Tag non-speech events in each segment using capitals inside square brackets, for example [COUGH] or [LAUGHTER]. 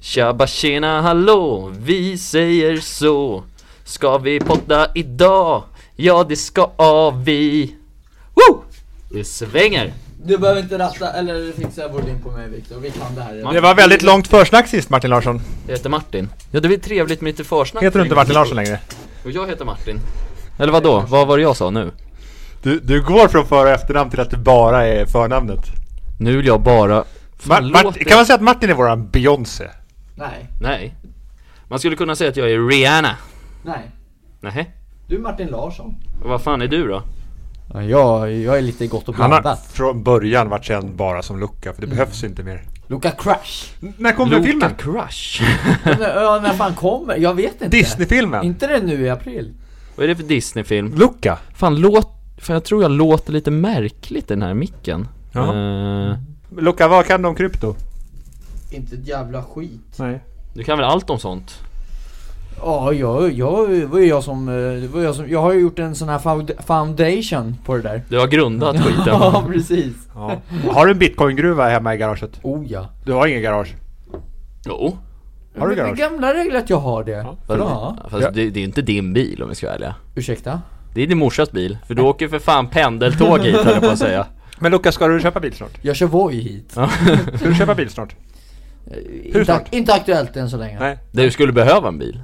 Tjabba tjena hallå, vi säger så Ska vi podda idag? Ja det ska vi Woo! Det svänger! Du behöver inte ratta eller fixa vårdin på mig Viktor, vi kan det här redan. Man- Det var väldigt långt försnack sist Martin Larsson. Jag heter Martin Ja det blir trevligt med lite försnack Heter du inte Martin Larsson längre? Och jag heter Martin Eller vad då? Vad var det jag sa nu? Du, du går från för och efternamn till att du bara är förnamnet. Nu vill jag bara Ma- Fan, Mart- låter- kan man säga att Martin är våran Beyoncé? Nej, Nej Man skulle kunna säga att jag är Rihanna nej. Nej. Du är Martin Larsson. vad fan är du då? Ja, jag, jag är lite gott och Han har blandat. från början varit känd bara som Luca, för det behövs inte mer. Luca Crash. när kom den Luka filmen? Crush [LAUGHS] Men, ja, när fan kommer? Jag vet inte. Disney-filmen? Inte det nu i april? Vad är det för Disney-film? Luca? Fan låt, för jag tror jag låter lite märkligt i den här micken Ja. Eh, Luca, vad kan du om krypto? Inte ett jävla skit. Nej. Du kan väl allt om sånt? Ja, jag, jag, det var ju jag som, eh, det var jag som, jag har ju gjort en sån här found- foundation på det där. Du har grundat skiten [LAUGHS] Ja, precis. Ja. Har du en bitcoingruva hemma i garaget? Oh ja. Du har ingen garage? Jo, Har Men du det garage? är gamla regler att jag har det. Ja. fast, Bra. fast Ja. Det, det är ju inte din bil om vi ska vara ärliga Ursäkta? Det är din morsas bil, för du åker ju för fan pendeltåg hit höll jag på att säga [LAUGHS] Men Luca, ska du köpa bil snart? Jag kör Voi hit. Ska du köpa bil snart? Inte, snart? inte aktuellt än så länge. Nej. Du skulle behöva en bil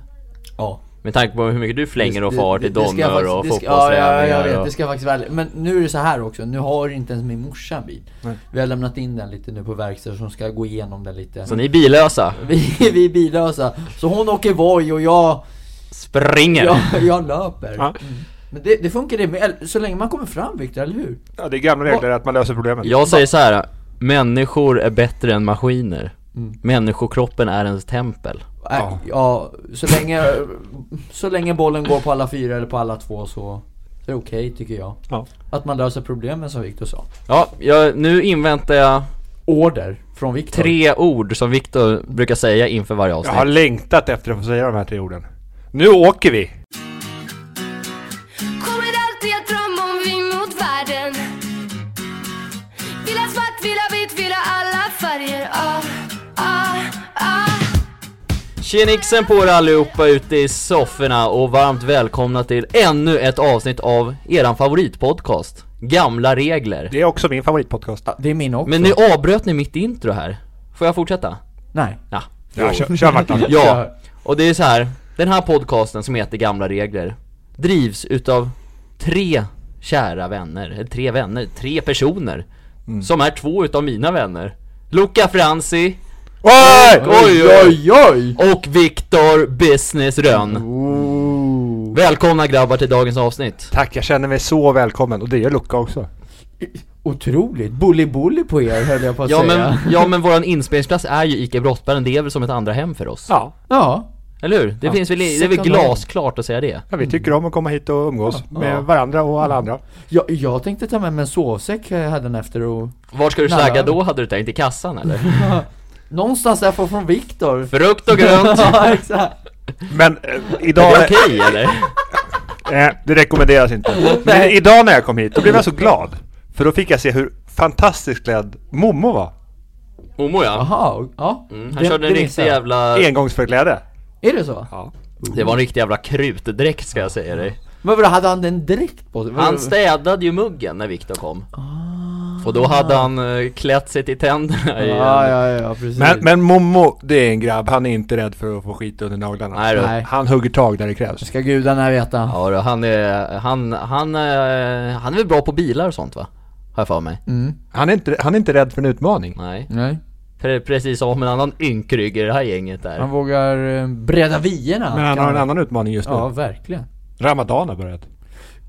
Ja. Med tanke på hur mycket du flänger och far till det ska jag Donnör faktiskt- och det ska- ja, ja, jag fotbollsträningar vet, och... det ska jag faktiskt väl. Men nu är det så här också, nu har inte ens min morsa en bil. Vi har lämnat in den lite nu på verkstad som ska gå igenom den lite. Så ni är billösa, Vi, [LAUGHS] vi är billösa, så hon åker Voi och jag, springer! jag, jag löper. Ja. Mm. Men det, det funkar det, med, eller- så länge man kommer fram Viktor, eller hur? Ja, det är gamla regler att man löser problemen. Jag säger så här. människor är bättre än maskiner Mm. Människokroppen är ens tempel Äh, ja. så länge, så länge bollen går på alla fyra eller på alla två så är det okej tycker jag. Ja. Att man löser problemen som Viktor sa. Ja, jag, nu inväntar jag Order från Viktor. tre ord som Viktor brukar säga inför varje Jag avsnitt har längtat efter att få säga de här tre orden. Nu åker vi! Kommer alltid att drömma om vi mot världen Vill ha svart, vill ha vitt, vill ha alla färger ah, ah, ah. Tjenixen på er allihopa ute i sofforna och varmt välkomna till ännu ett avsnitt av eran favoritpodcast Gamla regler Det är också min favoritpodcast. Det är min också. Men nu avbröt ni mitt intro här Får jag fortsätta? Nej. Ja, Ja, kör, [LAUGHS] kör Martin. ja. och det är så här. Den här podcasten som heter Gamla regler Drivs utav tre kära vänner, eller tre vänner, tre personer Som är två utav mina vänner Luca Franzi Oj! Oj, oj, oj! Mm. och Viktor Business Rönn Välkomna grabbar till dagens avsnitt Tack, jag känner mig så välkommen. Och det gör Luca också. Otroligt, bully bully på er höll jag på att Ja säga. men, ja men våran inspelningsplats är ju ICA Brottbären, det är väl som ett andra hem för oss? Ja. [LAUGHS] Ja. Eller hur? Det finns väl, det är väl second glasklart att säga det? ja vi tycker om att komma hit och umgås med varandra och alla andra. Jag, jag tänkte ta med mig en sovsäck jag hade den efter och... Var ska du Nej, slagga nej. då hade du tänkt? I kassan eller? Någonstans där från- från Viktor. Frukt och grönt! [LAUGHS] ja, exakt. Men eh, Är idag... det okej eller? eh, det rekommenderas inte. Men Nej. idag när jag kom hit, då blev jag så glad. För då fick jag se hur fantastiskt klädd Momo var. Momo ja, Jaha, ja. mm, han körde en det riktig missade jag. E- jävla, Engångsförkläde. Är det så? det var en riktig jävla krutdräkt ska jag säga dig Men vadå, hade han den direkt på sig? Han städade ju muggen när Viktor kom Och då hade han eh, klätt sig till tänderna i en- Ja, ja, ja, precis. Men, Mm. men Momo, det är en grabb. Han är inte rädd för att få skit under naglarna. Nej, då. Nej. Han hugger tag där det krävs. Ska gudarna veta. Ja då, han är, han, han, eh, han är väl bra på bilar och sånt va? Har jag för mig? Han är inte, han är inte rädd för en utmaning. Nej. Mm, Nej. Pre- precis som en annan ynkrygg i det här gänget Han där. vågar eh, bredda vyerna. Men han kan har en annan utmaning just nu. Ja, verkligen. Ramadan har börjat.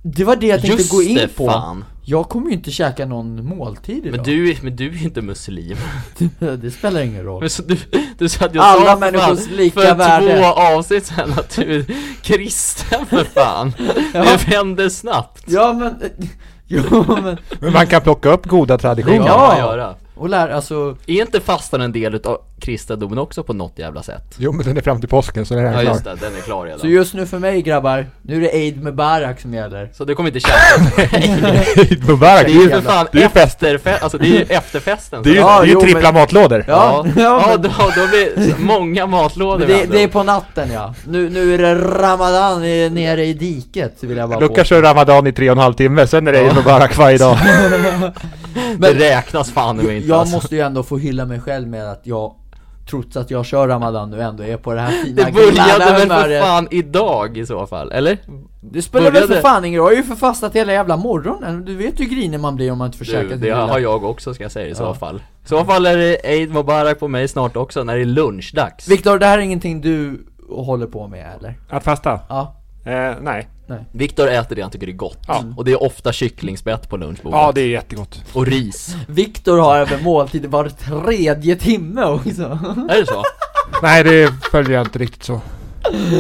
Det var det jag tänkte Just gå in det, på. fan. Jag kommer ju inte käka någon måltid idag. Men du, men du är inte muslim. [LAUGHS] [LAUGHS] det spelar ingen roll. Men så du, du satt ju och Alla sa för människors fan lika för värde. två avsnitt sedan att du är kristen [LAUGHS] för fan. Det vände snabbt. Ja men, [LAUGHS] jo men, Men man kan plocka upp Det goda kan traditioner. Ja. man göra. och lär, alltså Är inte fastan en del utav kristendomen också på något jävla sätt. Jo men den är fram till påsken så den är Ja klar. just det, den är klar redan. Så Så, just nu för mig grabbar, nu är det Eid Mubarak som gäller. du kommer inte [LAUGHS] tjafsa med mig. [LAUGHS] Eid Mubarak! Det är ju för fan Det är ju fest. efterfe- alltså det är ju [LAUGHS] efterfesten. Det är ju, Ja, det är ju jo, men- trippla matlådor! Ja, [LAUGHS] ja, Ja, ja, men- då, då blir det många matlådor alltså. Men med det, andra det är ord. på natten ja. Nu, nu är det Ramadan är nere i diket, vill jag bara Lukas kör Ramadan i tre och en halv timme, sen är det Eid Mubarak varje dag. Det räknas fan i mig inte Jag alltså. måste ju ändå få hylla mig själv med att jag, trots att jag kör Ramadan nu ändå, är på det här fina Det började glada väl för humöret. fan idag i så fall, eller? Det spelar väl för började. fan ingen roll, jag har ju förfastat hela jävla morgonen. Du vet hur grinig man blir om man inte får käka Du, sin det lilla- har jag också ska jag säga i så fall. I så fall är det Eid Mubarak på mig snart också när det är lunchdags. Viktor, det här är ingenting du håller på med eller? [LAUGHS] Att fasta? Ja. Eh, nej. Viktor äter det han tycker är gott. Och det är ofta kycklingspett på lunchbordet. Ja, det är jättegott. Och ris. Viktor har även måltider var tredje timme också. Är det så? Nej, det följer jag inte riktigt så.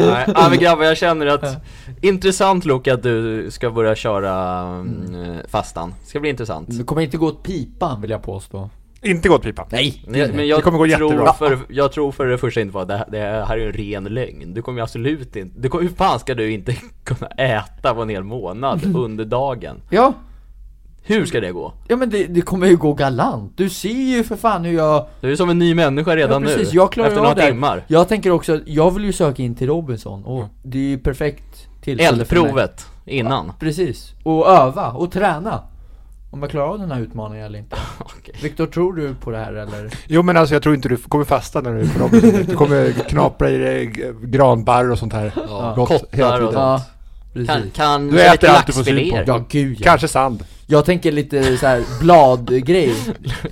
Nej, [LAUGHS] ja, men grabbar jag känner att Intressant Luke att du ska börja köra mm, fastan. Ska bli intressant. [LAUGHS] Det kommer inte gå åt pipan vill jag påstå. Inte gått pipa. Nej! Men jag, men jag, Det kommer gå tror jättebra. för, jag tror för det första inte på att det, här- det här är ju en ren lögn. Du kommer ju absolut inte, du kommer, hur fan ska du inte [LAUGHS] kunna äta på en hel [LAUGHS] månad under dagen? Ja, Hur ska det gå? ja men det, det kommer ju gå galant. Du ser ju för fan hur jag... Du är ju som en ny människa redan ja, precis, nu. jag klarar efter av några det här. timmar. Mm. Jag tänker också, jag vill ju söka in till Robinson och det är ju perfekt tillfälle för mig. Eldprovet innan. Precis, och öva och träna. Om jag klarar av den här utmaningen eller inte. [LAUGHS] Okej. Viktor, tror du på det här eller? Jo men alltså jag tror inte du kommer fasta när du är på Robinson. [LAUGHS] Du kommer knapra i dig g- granbarr och sånt här. Ja. Gott Kottar hela och tiden. sånt. Ja, precis. Kan, kan Du lite äter allt du får [LAUGHS] syn laxfiléer. Ja, gud ja. Kanske sand. Jag tänker lite så här bladgrej.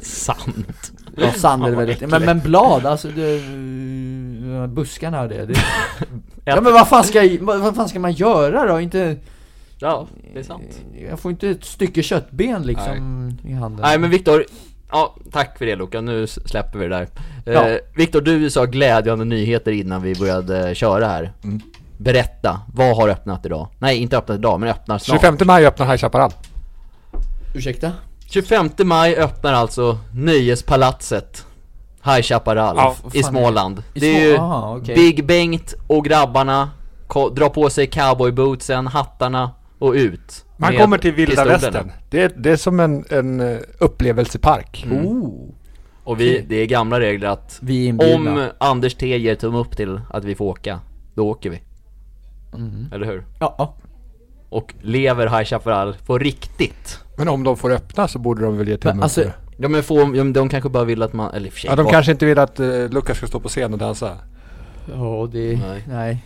Sant. Ja, sand är det väldigt. Men, men blad, alltså det, eh, buskarna och det. det ja men vad fan, ska, jag- vad, vad fan ska man göra då? Inte, Ja, det är sant. jag får inte ett stycke köttben liksom i handen. Nej men Viktor, ja tack för det Luca, nu s- släpper vi det där. Ja. Eh, Viktor, du sa glädjande nyheter innan vi började köra här. Mm. Berätta, vad har öppnat idag? Nej, inte öppnat idag, men öppnar snart. 25 maj öppnar High Chaparral. Ursäkta? 25 maj öppnar alltså Nöjespalatset High Chaparral Ja, i fan. Småland. det I Små- är ju aha, okej. Big Bengt och grabbarna, ko- dra på sig cowboybootsen, hattarna och ut. Man med kommer till vilda pistolerna. västern. Det är, det är som en, en eh, upplevelsepark. Mm. Oh, Och vi, det är gamla regler att vi är inbjudna. om Anders T ger tumme upp till att vi får åka, då åker vi. Mm. Eller hur? Ja, ja. Och lever High Chaparral på riktigt. Men om de får öppna så borde de väl ge tummen Men alltså, för det. Ja men få, ja, men de kanske bara vill att man, eller i och för sig, Ja, de vad- kanske inte vill att uh, Lukas ska stå på scen och dansa. ja det, Nej. nej. Nej,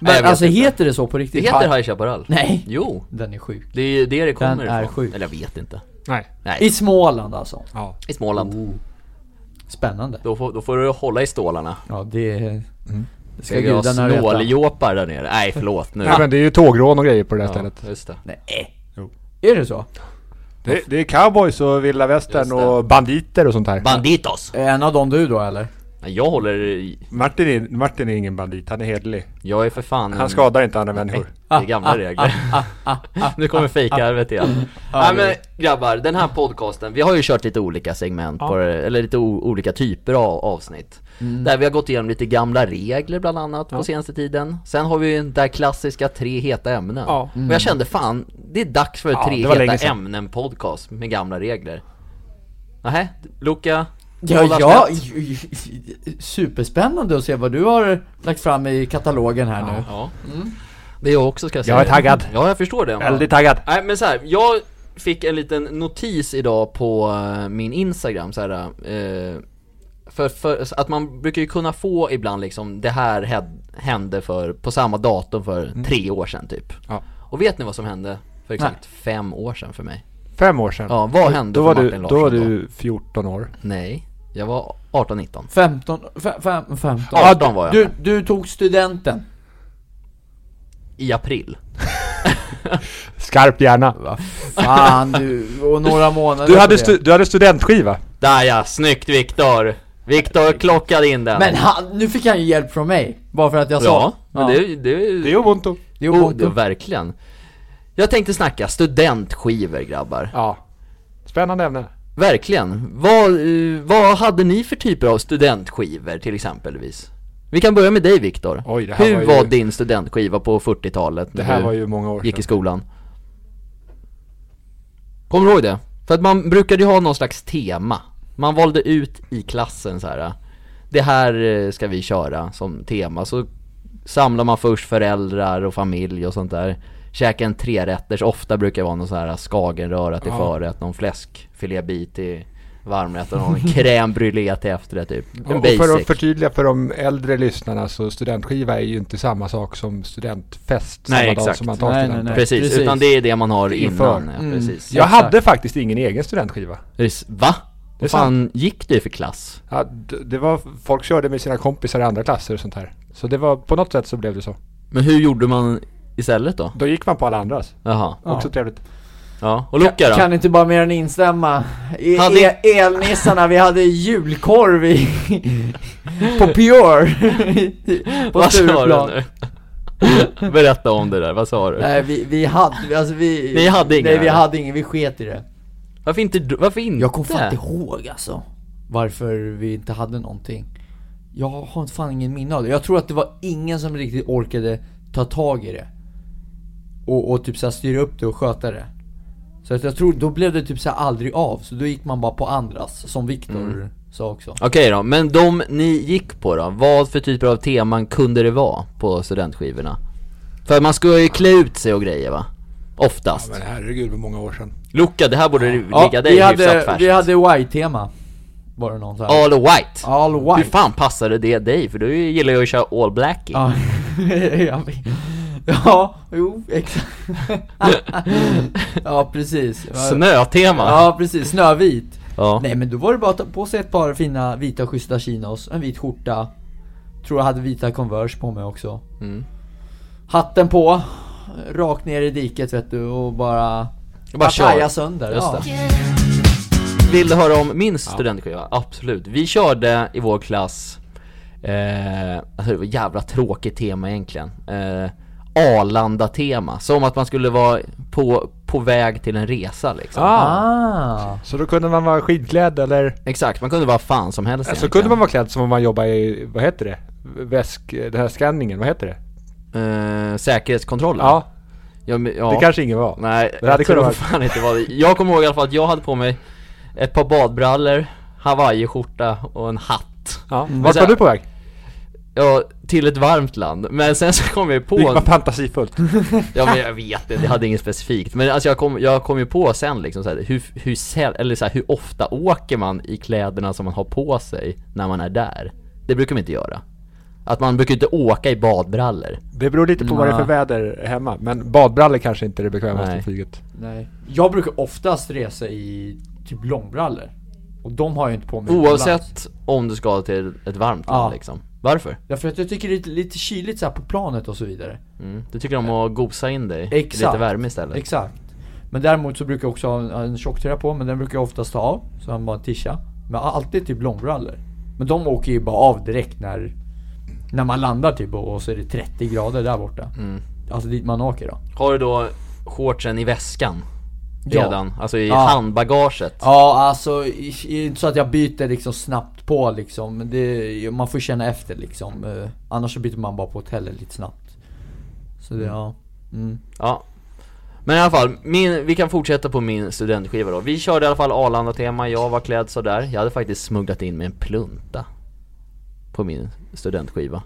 jag Men vet alltså inte. heter det så på det riktigt? heter High Chaparral. Nej. Jo, Den är sjuk. det är ju det det kommer Den är ifrån. sjuk. Eller jag vet inte. Nej. Nej, I Småland alltså. Ja. i Småland. Oh. Spännande. Då, får, då får du hålla i stålarna. Ja, det är... Mm. Det ska Ska vi ha gudarna veta. snåljåpar där nere? Nej förlåt nu. Nej men det är ju tågrån och grejer på det där ja, stället. just det. Nej. Är det så? Det, det är cowboys och vilda Just västern det. och banditer och sånt här. Banditos! Är En av dem du då eller? Nej, Jag håller i- Martin, är, Martin är ingen bandit, han är hederlig. jag är för fan en- Han skadar inte andra människor. Det är gamla regler. ah, [LAUGHS] nu kommer fejkarvet igen. Nej ah. men grabbar, den här podcasten, vi har ju kört lite olika segment, på, det- eller lite o- olika typer av avsnitt. Mm. Där vi har gått igenom lite gamla regler bland annat på senaste tiden. Sen har vi ju den där klassiska tre heta ämnen. Ja. Mm. Och jag kände fan, det är dags för Ja, tre det var länge heta sedan. ämnen podcast med gamla regler. Nähä, Luca? Ja, Kolla ja, snett. superspännande att se vad du har lagt fram i katalogen här nu. Ja. Det är jag också ska jag säga. är taggad. Ja, jag förstår det. Väldigt taggad. Nej men så här, jag fick en liten notis idag på eh, min Instagram så här, eh, för, för så att man brukar ju kunna få ibland liksom det här hed- hände för, på samma datum för tre år sedan typ. Mm. Ja. Och vet ni vad som hände för exakt fem år sedan för mig? Fem år sedan. Ja, vad hände för Då var, Martin du, Larsson då var du 14 år. Nej, jag var 18-19. 15, fe- fem, 15. 18 var jag. Du, du tog studenten. I april. Skarp hjärna. Fan du, och några månader Du på hade, det. stu- du hade studentskiva. Där ja, snyggt Viktor! Viktor klockade in den. Men han, nu fick han ju hjälp från mig, bara för att jag ja, sa men det, det, Det är ubuntu. det är Oh, det, ubuntu. verkligen. Jag tänkte snacka studentskivor grabbar. Ja. Spännande ämne. Verkligen. Vad, eh, vad hade ni för typer av studentskivor till exempelvis? Vi kan börja med dig Viktor. Oj, det här Hur var var, ju- din studentskiva på 40-talet? Det när här du var ju många år gick i sedan. skolan? Kommer du ihåg det? För att man brukade ju ha någon slags tema. Man valde ut i klassen så här. Det här eh, ska vi köra som tema. Så samlar man först föräldrar och familj och sånt där. Käka en trerätters, ofta brukar det vara någon sån här skagenröra till förrätt, någon fläskfilébit till varmrätt och någon crème brûlée till efterrätt typ. En Och för att basic. förtydliga för de äldre lyssnarna så studentskiva är ju inte samma sak som studentfest Nej, samma dag exakt. som man tar Nej, nej, studenten. nej. Precis, Precis. utan det är det man har Inför. innan. Ja, Mm. precis. Jag Exakt. hade faktiskt ingen egen studentskiva. Precis. Va? Det är Vad fan gick du för klass? Ja, d- det var, folk körde med sina kompisar i andra klasser och sånt här. Så det var, på något sätt så blev det så. Men hur gjorde man istället då? Då gick man på alla andras. Jaha. Ja. Också trevligt. Ja, och Luca då? Kan inte bara mer än instämma. E- Hade- e- elnissarna, vi hade julkorv i, på Pure. på Vad sa Stureplan. du nu? [LAUGHS] Berätta om det där, vad sa du? Nej vi, vi hade, alltså vi... Ni hade inga, Nej vi eller? hade ingen, vi sket i det. Varför inte, du- varför inte? Jag kommer fan inte ihåg alltså varför vi inte hade någonting. Jag har fan ingen minne av det. Jag tror att det var ingen som riktigt orkade ta tag i det. Och, och typ såhär styra upp det och sköta det. Så att jag tror, då blev det typ såhär aldrig av. Så då gick man bara på andras, som Viktor Mm. sa också. Okej då, men de ni gick på då, vad för typer av teman kunde det vara på studentskivorna? För man ska ju klä ut sig och grejer va? Oftast. Men herregud, för många år sedan. Luca, det här borde ligga dig vi, hyfsat hade, färskt. vi hade Y-tema. Var det någon såhär. All white. All Hur white. fan passade det dig? För du gillar ju att köra all black i. Ja, [LAUGHS] jag vet. ja, jo, exakt. [LAUGHS] [LAUGHS] ja, precis. Snötema. Ja, precis. Snövit. Ja. Nej, men då var det bara att ta på sig ett par fina vita schyssta chinos, en vit skjorta. Tror jag hade vita Converse på mig också. Mm. Hatten på, rakt ner i diket vet du och bara... bara kör. taja sönder. Just ja. det. Vill du höra om min studentskiva? Absolut. Vi körde i vår klass, eh, alltså det var ett jävla tråkigt tema egentligen. Eh, Arlanda-tema, som att man skulle vara på, på väg till en resa liksom. Ah. Så då kunde man vara skidklädd eller? Exakt, man kunde vara fan som helst Så egentligen. Alltså, kunde man vara klädd som om man jobbar i, vad heter det? Väsk, den här skanningen, vad heter det? eh, Säkerhetskontrollen? Ja, ja, men- ja. det kanske ingen var. Nej, Det hade jag tror kunnat vara- fan inte vad det Jag kommer ihåg i alla fall att jag hade på mig ett par badbrallor, hawaiiskjorta och en hatt. Ja. Mm. Men Vart så var här- du på väg? Ja, till ett varmt land. Men sen så kom jag ju på... Det var fantasifullt. Ja men jag vet inte, jag hade inget specifikt. Men alltså jag kom, jag kom ju på sen liksom så här, hur, hur, säl- eller så här, hur ofta åker man i kläderna som man har på sig när man är där? Det brukar man inte göra. Att man brukar inte åka i badbrallor. Det beror lite på vad det är för väder hemma. Men badbrallor kanske inte är det bekvämaste Nej. i flyget. Nej. Jag brukar oftast resa i typ långbrallor. Och de har jag inte på mig utomlands. Oavsett om du ska till ett varmt land Ja. liksom. Varför? Därför att jag tycker det är lite, lite kyligt så här på planet och så vidare. Mm. Du tycker om att gosa in dig i Exakt. lite värme istället? Exakt. Men däremot så brukar jag också ha en, ha en tjocktröja på, men den brukar jag oftast ta av. Så han bara en tisha. Men jag har alltid typ långbrallor. Men de åker ju bara av direkt när, när man landar typ och, och så är det 30 grader där borta. Alltså dit man åker då. Har du då shortsen i väskan? Ja. Redan? Alltså i Ja. handbagaget? Ja alltså, i- i- inte så att jag byter liksom snabbt på liksom. Men Det, man får känna efter liksom. Eh, Annars så byter man bara på hotellet lite snabbt. Så det, ja. Mm. Ja Men i alla fall, min, vi kan fortsätta på min studentskiva då Vi körde i alla fall Arlanda-tema, jag var klädd sådär Jag hade faktiskt smugglat in mig en plunta På min studentskiva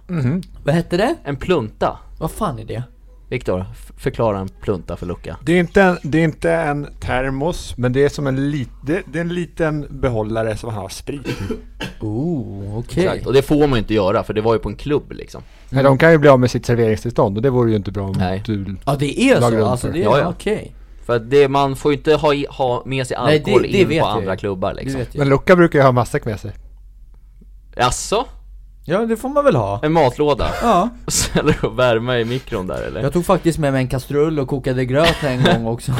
Vad hette det? En plunta? Vad fan är det? Viktor, f- förklara en plunta för Luca Det är, inte en, det är inte en termos, men det är som en, lit, det, det är en liten behållare som har sprit i. Oh, okej. Exakt, och det får man ju inte göra för det var ju på en klubb liksom Nej, de kan ju bli av med sitt serveringstillstånd och det vore ju inte bra om Nej. du... Ja det är Lagar så, runt alltså för. det är Ja, ja. okej. För att det, man får ju inte ha, i, ha med sig Nej, det- alkohol det vet in på jag ju. andra klubbar liksom vet Men Luca brukar ju ha matsäck med sig. Jaså? Ja det får man väl ha. En matlåda? [LAUGHS] Ja. Ställer och värma i mikron där eller? Jag tog faktiskt med mig en kastrull och kokade gröt en gång också.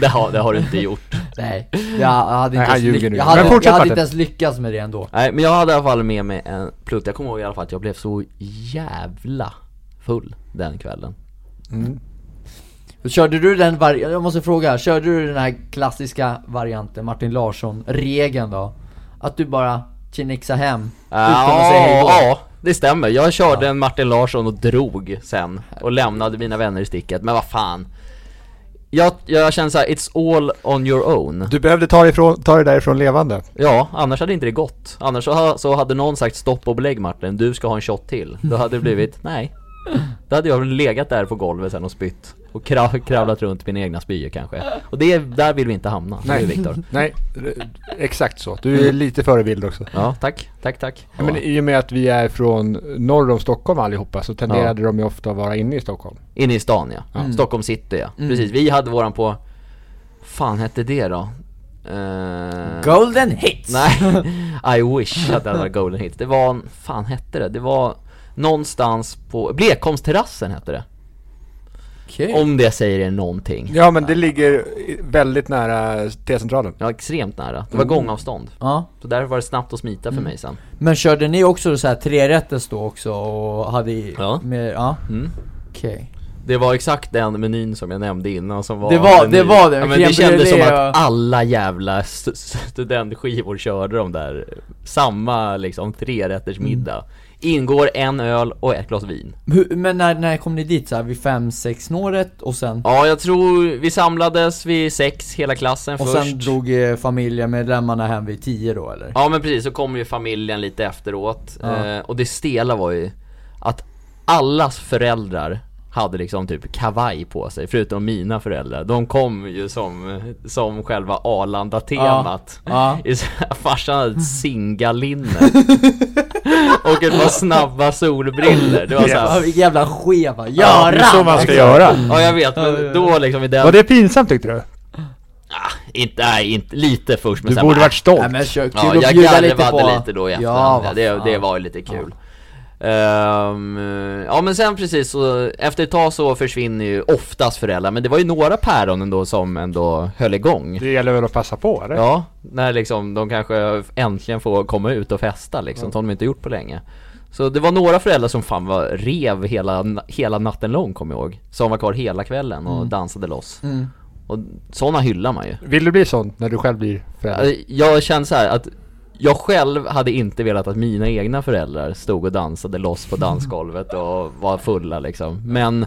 Det har, det har du inte gjort Nej, jag hade Nej, inte, han ens, ljuger lyck- nu. jag hade, Men fortsätt, jag hade Martin. inte ens lyckats med det ändå. Nej men jag hade i alla fall med mig en plutt, jag kommer ihåg i alla fall att jag blev så jävla full den kvällen Körde du den var- jag måste fråga, körde du den här klassiska varianten, Martin Larsson-regeln då? Att du bara tjenixa hem, utan att säga hej då? Ja, det stämmer. Jag körde en Martin Larsson och drog sen och lämnade mina vänner i sticket, men vad fan. Jag, jag känner såhär, it's all on your own. Du behövde ta, ifrån, ta dig därifrån levande. Ja, annars hade inte det gått. Annars så, ha- så hade någon sagt stopp och belägg Martin, du ska ha en shot till. Då hade det blivit, nej. Då hade jag väl legat där på golvet sen och spytt. Och krav, kravlat runt mina egna spyor kanske. Och det, där vill vi inte hamna, nej. Viktor. [LAUGHS] Mm. Nej, r- exakt så. Du är lite förebild också. Ja, tack, tack, tack. Men i och med att vi är från norr om Stockholm allihopa så tenderade de ju ofta att vara inne i Stockholm. Inne i stan ja. Stockholm city ja. Precis, vi hade våran på, fan hette det då? Eh, Golden [LAUGHS] hits! Nej, I wish att det hade varit Golden Hits. Det var, en- fan hette det? Det var någonstans på, Blekholmsterrassen hette det. Okej. Om det säger er någonting. Ja, men det ligger i- väldigt nära T-centralen. Ja, extremt nära. Det var Mm. gångavstånd. Ja. Så därför var det snabbt att smita Mm. för mig sen. Men körde ni också så här trerätters då också och hade i, Ja. med, ja? Mm. Okej. Det var exakt den menyn som jag nämnde innan som var Det var- menyn. det var det, ja, men crème det kändes som brûlée att och- alla jävla st- studentskivor körde de där Samma liksom Mm. trerättersmiddag Ingår en öl och ett glas vin Hur- Men när, när kom ni dit så här vid 5-6-året och sen? Ja jag tror vi samlades vid sex, hela klassen och först sen drog eh, familjemedlemmarna hem vid 10 då eller? Ja men precis, så kom ju familjen lite efteråt Ja. eh, Och det stela var ju att allas föräldrar hade liksom typ kavaj på sig, förutom mina föräldrar. De kom ju som, som själva Arlanda-temat. Ja. [LAUGHS] I så- Farsan hade ett singalinne och ett par snabba solbriller Det var Ja, såhär, vilken jävla skeva, Ja, Göran! det är så man ska göra. ja jag vet, Ja, ja, ja. men då liksom i den... Var det pinsamt tyckte du? Inte, nej, inte, lite först men Du sen borde bara, varit stolt. Nej men kör, kul Ja, att jag bjuda lite garvade på lite, då i Ja, efterhand, ja, vad det, det fan. var ju lite kul Ehm, eh, Ja men sen precis så, efter ett tag så försvinner ju oftast föräldrar, men det var ju några päron ändå som ändå höll igång Det gäller väl att passa på eller? Ja, när liksom de kanske äntligen får komma ut och festa liksom, som de inte gjort på länge Så det var några föräldrar som fan var rev hela, na- hela natten lång kommer jag ihåg Som var kvar hela kvällen och dansade loss Mm. Och sådana hyllar man ju Vill du bli sån när du själv blir förälder? Alltså, Jag känner så här att jag själv hade inte velat att mina egna föräldrar stod och dansade loss på dansgolvet och var fulla liksom. Men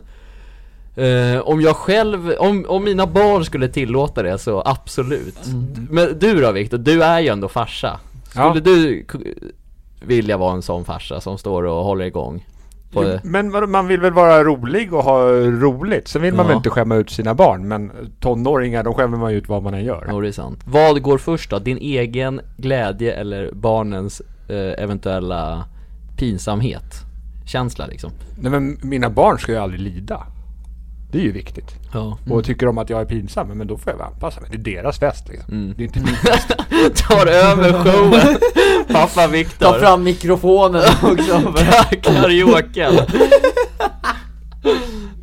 eh, om jag själv, om, om mina barn skulle tillåta det så absolut. Men du då Viktor, du är ju ändå farsa. Skulle Ja. du k- vilja vara en sån farsa som står och håller igång? På, Men vadå, man vill väl vara rolig och ha roligt? Sen vill man Ja. väl inte skämma ut sina barn, men tonåringar, de skämmer man ju ut vad man än gör. Jo, det är sant. Vad går först då? Din egen glädje eller barnens eh, eventuella pinsamhet? Känsla liksom? Nej men mina barn ska ju aldrig lida. Det är ju viktigt. Ja. Och tycker de att jag är pinsam, men då får jag väl anpassa mig. Det är deras fest liksom. Mm. Det är inte [LAUGHS] min fest. [LAUGHS] Tar över showen. Pappa [LAUGHS] Ta Viktor. fram mikrofonen också! [LAUGHS] Karaoken.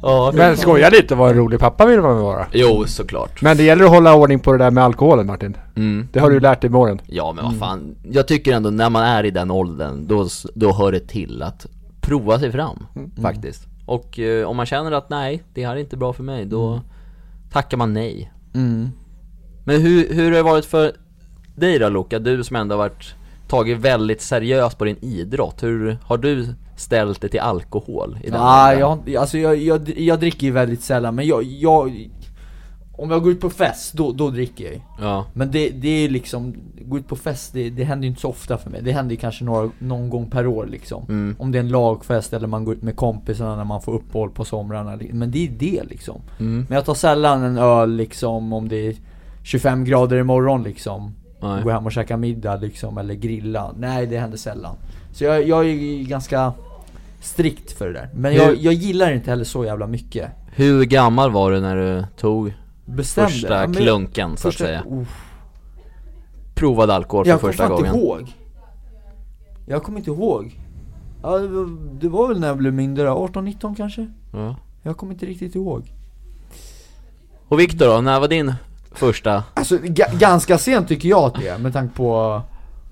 ja. Men skoja lite, vad en rolig pappa vill man väl vara. Jo, såklart. Men det gäller att hålla ordning på det där med alkoholen Martin. Mm. Det har du lärt dig med åren. Ja, men vad fan. Jag tycker ändå när man är i den åldern, då, s- då hör det till att prova sig fram. Mm. Faktiskt. Och eh, om man känner att nej, det här är inte bra för mig, då tackar man nej. Mm. Men hur, hur har det varit för dig då Luca? Du som ändå har varit, tagit väldigt seriöst på din idrott. Hur har du ställt dig till alkohol? I den Nej, åldern? jag, alltså jag, jag, jag dricker ju väldigt sällan men jag, jag Om jag går ut på fest, då, då dricker jag ju. Ja. Men det, det är liksom, gå ut på fest, det, det händer ju inte så ofta för mig. Det händer ju kanske några, någon gång per år liksom. Mm. Om det är en lagfest eller man går ut med kompisarna när man får uppehåll på somrarna. li- Men det är det liksom. Mm. Men jag tar sällan en öl liksom om det är 25 grader imorgon liksom. Nej. Gå hem och käka middag liksom, eller grilla. Nej, det händer sällan. Så jag, jag är ju ganska strikt för det där. Men jag, Hur- jag gillar inte heller så jävla mycket. Hur gammal var du när du tog Bestämde. första Ja, men- klunken så att första- säga? Uff. Provad alkohol för Jag kommer första fan inte gången? ihåg. Jag kommer inte ihåg. Ja, det, var, det var väl när jag blev mindre, 18-19 kanske? Ja. Jag kommer inte riktigt ihåg. Och Viktor då, när var din första? Alltså ga- ganska sent tycker jag att det är, med tanke på...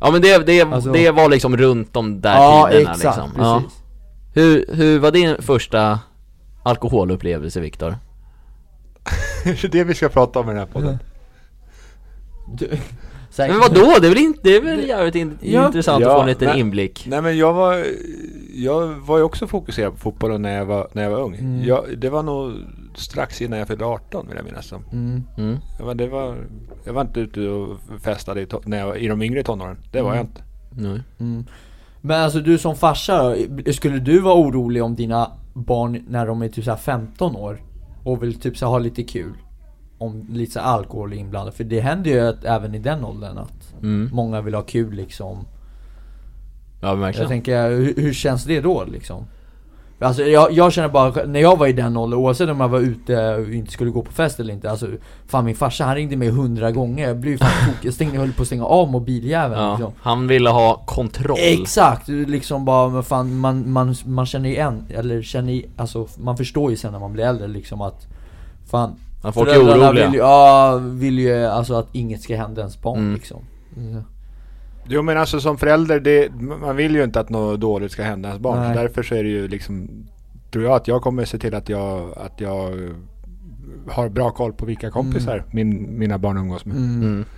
Ja men det, det, Alltså- det var liksom runt de där Ja tiderna exakt, liksom. Ja. precis. Hur, hur var din första alkoholupplevelse Viktor? [LAUGHS] det är det vi ska prata om i den här podden. Du, så här- Men vadå? Det är väl, inte, det är väl jävligt in, Ja. intressant Ja, att få en liten men- inblick? Nej men jag var, jag var ju också fokuserad på fotbollen när jag var, när jag var ung. Jag, det var nog strax innan jag fyllde 18 vill jag minnas som. Mm. Mm. Jag var, det var, jag var inte ute och festade i, to- när jag, var- i de yngre tonåren. Det var jag inte. Nej. Men alltså du som farsa, skulle du vara orolig om dina barn när de är typ så här 15 år och vill typ så här ha lite kul? Om lite så här alkohol är inblandad, för det händer ju att även i den åldern att Mm. många vill ha kul liksom. Ja men Jag verkligen. tänker, hur, hur känns det då liksom? Alltså jag, jag känner bara, när jag var i den åldern, oavsett om jag var ute och inte skulle gå på fest eller inte Alltså, fan min farsa han ringde mig hundra gånger, jag blev ju fan tokig, jag stängde, jag höll på att stänga av mobiljäveln liksom. Ja, han ville ha kontroll. Exakt! Liksom bara, men fan, man, man, man känner ju en, eller känner ju, alltså man förstår ju sen när man blir äldre liksom att Fan Ja, folk är föräldrarna oroliga. vill ju, ja, vill ju alltså att inget ska hända ens barn Mm. liksom Jo men alltså som förälder, det, man vill ju inte att något dåligt ska hända ens barn. Nej. Så Därför så är det ju liksom, tror jag att jag kommer se till att jag, att jag har bra koll på vilka kompisar Mm. min, mina barn umgås med. Mm. [LAUGHS]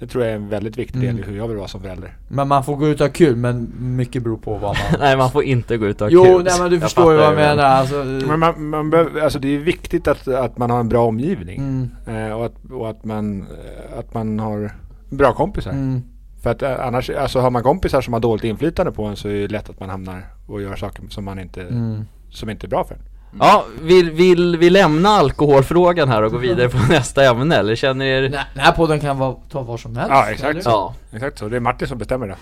Det tror jag är en väldigt viktig del Mm. i hur jag vill vara som förälder. Men man får gå ut och ha kul, men mycket beror på vad man Nej man får inte gå ut och ha Jo, kul. nej men du Jag förstår ju vad fattar jag det. menar alltså, Men man, man behöver, alltså det är viktigt att, att man har en bra omgivning. mm, Eh, och att, och att, man, eh, att man har bra kompisar. mm, För att eh, annars, alltså har man kompisar som har dåligt inflytande på en så är det lätt att man hamnar och gör saker som man inte, mm. som inte är bra för en. Ja, vill, vill vi lämna alkoholfrågan här och gå vidare på [LAUGHS] nästa ämne eller känner er... Nej, Den här podden kan vara, ta var som helst Ja, exakt. eller? Ja. Exakt så, det är Martin som bestämmer det.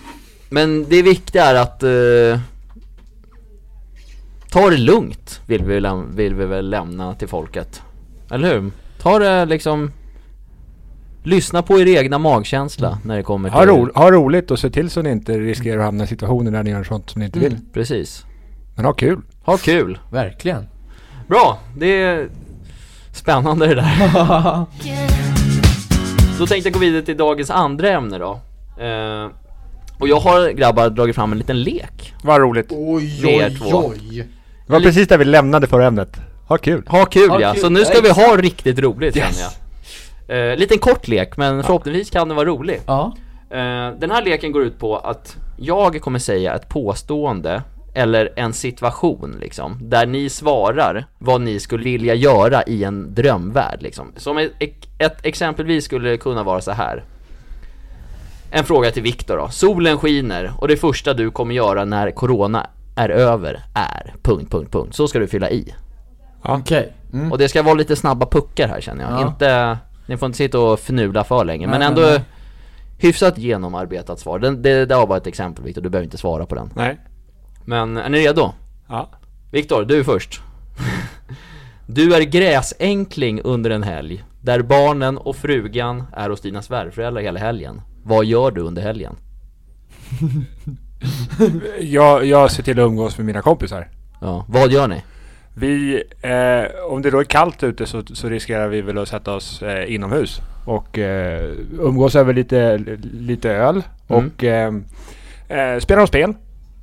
Men det viktiga är att... Eh, ta det lugnt, vill vi, läm- vill vi väl lämna till folket. Eller hur? Ta det liksom... Lyssna på er egna magkänsla när det kommer till... Ha, ro, ha roligt och se till så ni inte riskerar att hamna i situationer där ni gör sånt som ni inte vill. Precis. Men ha kul! Ha kul. [LAUGHS] Verkligen Bra, det är spännande det där. [LAUGHS] Då tänkte jag gå vidare till dagens andra ämne då. Eh, och jag har grabbar dragit fram en liten lek. Vad roligt! Oj, Det är två. oj Det var precis där vi lämnade förra ämnet. Ha kul! Ha kul Ha ja, kul, så nu ja, ska vi exakt. ha riktigt roligt känner jag. Eh, liten kort lek, men förhoppningsvis kan den vara rolig. Ja, Eh, den här leken går ut på att jag kommer säga ett påstående eller en situation liksom, där ni svarar vad ni skulle vilja göra i en drömvärld liksom. Som ett, ett exempelvis skulle kunna vara så här. En fråga till Viktor då. Solen skiner och det första du kommer göra när corona är över är... Punkt, punkt, punkt. Så ska du fylla i. okej mm. Och det ska vara lite snabba puckar här känner jag. Ja. Inte, ni får inte sitta och fnula för länge. men Nej, ändå nej, nej. hyfsat genomarbetat svar. Den, det, det var bara ett exempel Viktor, du behöver inte svara på den. Nej. Men är ni redo? Ja. Viktor, du är först. [LAUGHS] du är gräsänkling under en helg. Där barnen och frugan är hos dina svärföräldrar hela helgen. Vad gör du under helgen? Jag, jag ser till att umgås med mina kompisar. Ja, vad gör ni? Vi, eh, om det då är kallt ute så, så riskerar vi väl att sätta oss eh, inomhus och eh, umgås över lite, lite öl Mm. och eh, eh, spela något spel.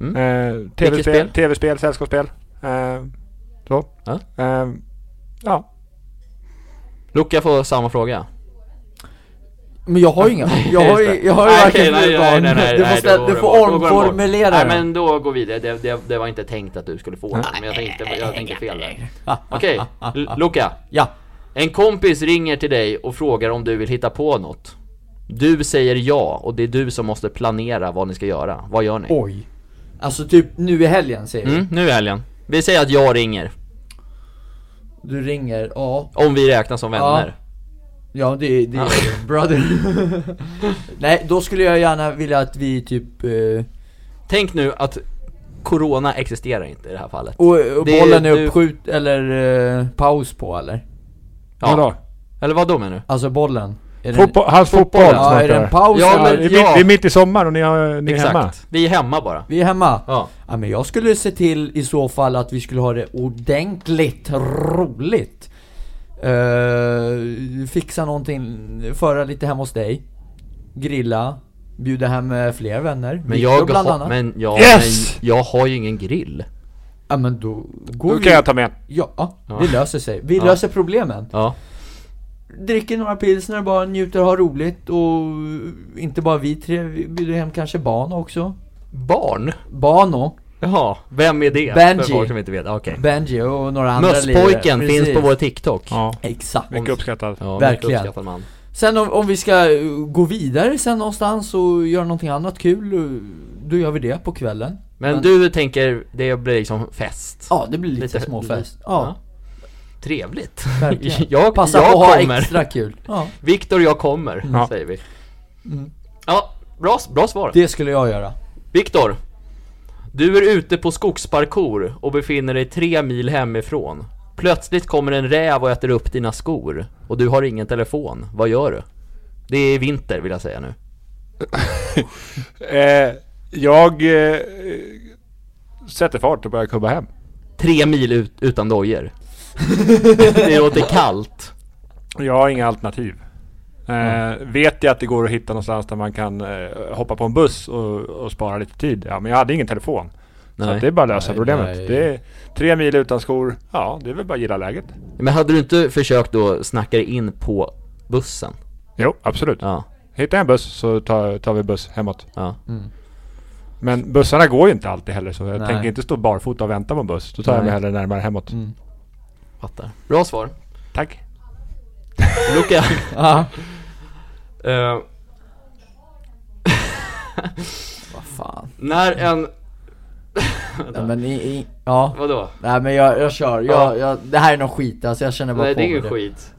Mm. Eh, Vilket TV-spel, spel? TV-spel, sällskapsspel. Eh, så. Ja. Eh, ja. Luca får samma fråga. Men jag [LAUGHS] har ju inga, jag har Just ju, det. jag har ju Nej, varken nej, nej, nej, nej, du nej, får, ställa, då du går får det bort, då går det bort. omformulera Nej den. men då går vi vidare, det, det, det var inte tänkt att du skulle få den, men jag tänkte, jag tänkte fel där [LAUGHS] Okej, L- Luca Ja, En kompis ringer till dig och frågar om du vill hitta på något Du säger ja, och det är du som måste planera vad ni ska göra, vad gör ni? oj Alltså typ nu i helgen säger vi Mm, nu är helgen Vi säger att jag ringer, Du ringer, ja om vi räknas som vänner Ja det, det Ja. [LAUGHS] är brother Nej då skulle jag gärna vilja att vi typ eh, Tänk nu att Corona existerar inte i det här fallet Och, och Det- bollen är du- uppskjut eller eh, paus på eller? ja. Eller vad då menar du? Alltså bollen? Är den- Fotboll, hans fotboll Ja, snart är där. den paus Ja, Ja, eller? men- det, är mitt, det är mitt i sommar och ni, har, ni är hemma. Exakt, vi är hemma bara Vi är hemma? Ja, Ja men jag skulle se till i så fall att vi skulle ha det ordentligt roligt Eh, Fixa någonting, föra lite hem hos dig Grilla Bjuda hem eh, fler vänner men Viktor jag, bland har, annat. men, jag, Yes! men jag har ju ingen grill Ja men då går Då vi kan jag ta med. Ja, Ja. det löser sig. Vi Ja. löser problemen Ja dricker några pilsner, bara njuter och har roligt och inte bara vi tre, vi bjuder hem kanske Bano också. Barn? Bano, Jaha, vem är det? Benji. För folk som inte vet, okej Benji och några andra Mösspojken lirare. finns på Precis. vår TikTok Ja, Exakt. mycket uppskattad. Ja, Verkligen. mycket uppskattad man Sen om, om vi ska eh, gå vidare sen någonstans och göra någonting annat kul, eh, då gör vi det på kvällen. Men, Men- du tänker, det blir liksom fest? Ja, det blir lite, småfest. Ja, Trevligt verkligen. [LAUGHS] Jag, Passa jag på att ha kommer, extra kul. Ja, Viktor jag kommer, Ja. säger vi Mm. Ja, bra, bra svar det skulle jag göra. Viktor Du är ute på skogsparkour och befinner dig tre mil hemifrån Plötsligt kommer en räv och äter upp dina skor och du har ingen telefon, vad gör du? Det är vinter vill jag säga nu Eh, jag eh, sätter fart och börjar kubba hem. Tre mil ut, utan dojor [LAUGHS] Det låter kallt Jag har inga alternativ. Eh, Vet jag att det går att hitta någonstans där man kan eh, hoppa på en buss och, och spara lite tid. Ja, men jag hade ingen telefon. Så Nej. att det är bara att lösa Nej, problemet. nej. Det är tre mil utan skor. Ja, det är väl bara att gilla läget. Men hade du inte försökt då snacka dig in på bussen? Jo, absolut. Ja, Hittar jag en buss så tar, tar vi buss hemåt. ja Men bussarna går ju inte alltid heller så jag Nej. tänker inte stå barfota och vänta på en buss. Då tar jag Nej. Mm. mig hellre närmare hemåt. Fattar. Bra svar. Tack. Luca. Ja. Eh, Vad fan. när en... Nej, men i, i, ja. Vadå? Nej men jag, jag kör, Ja. jag, jag, det här är någon skit alltså, jag känner bara Nej, på det är ingen mig skit.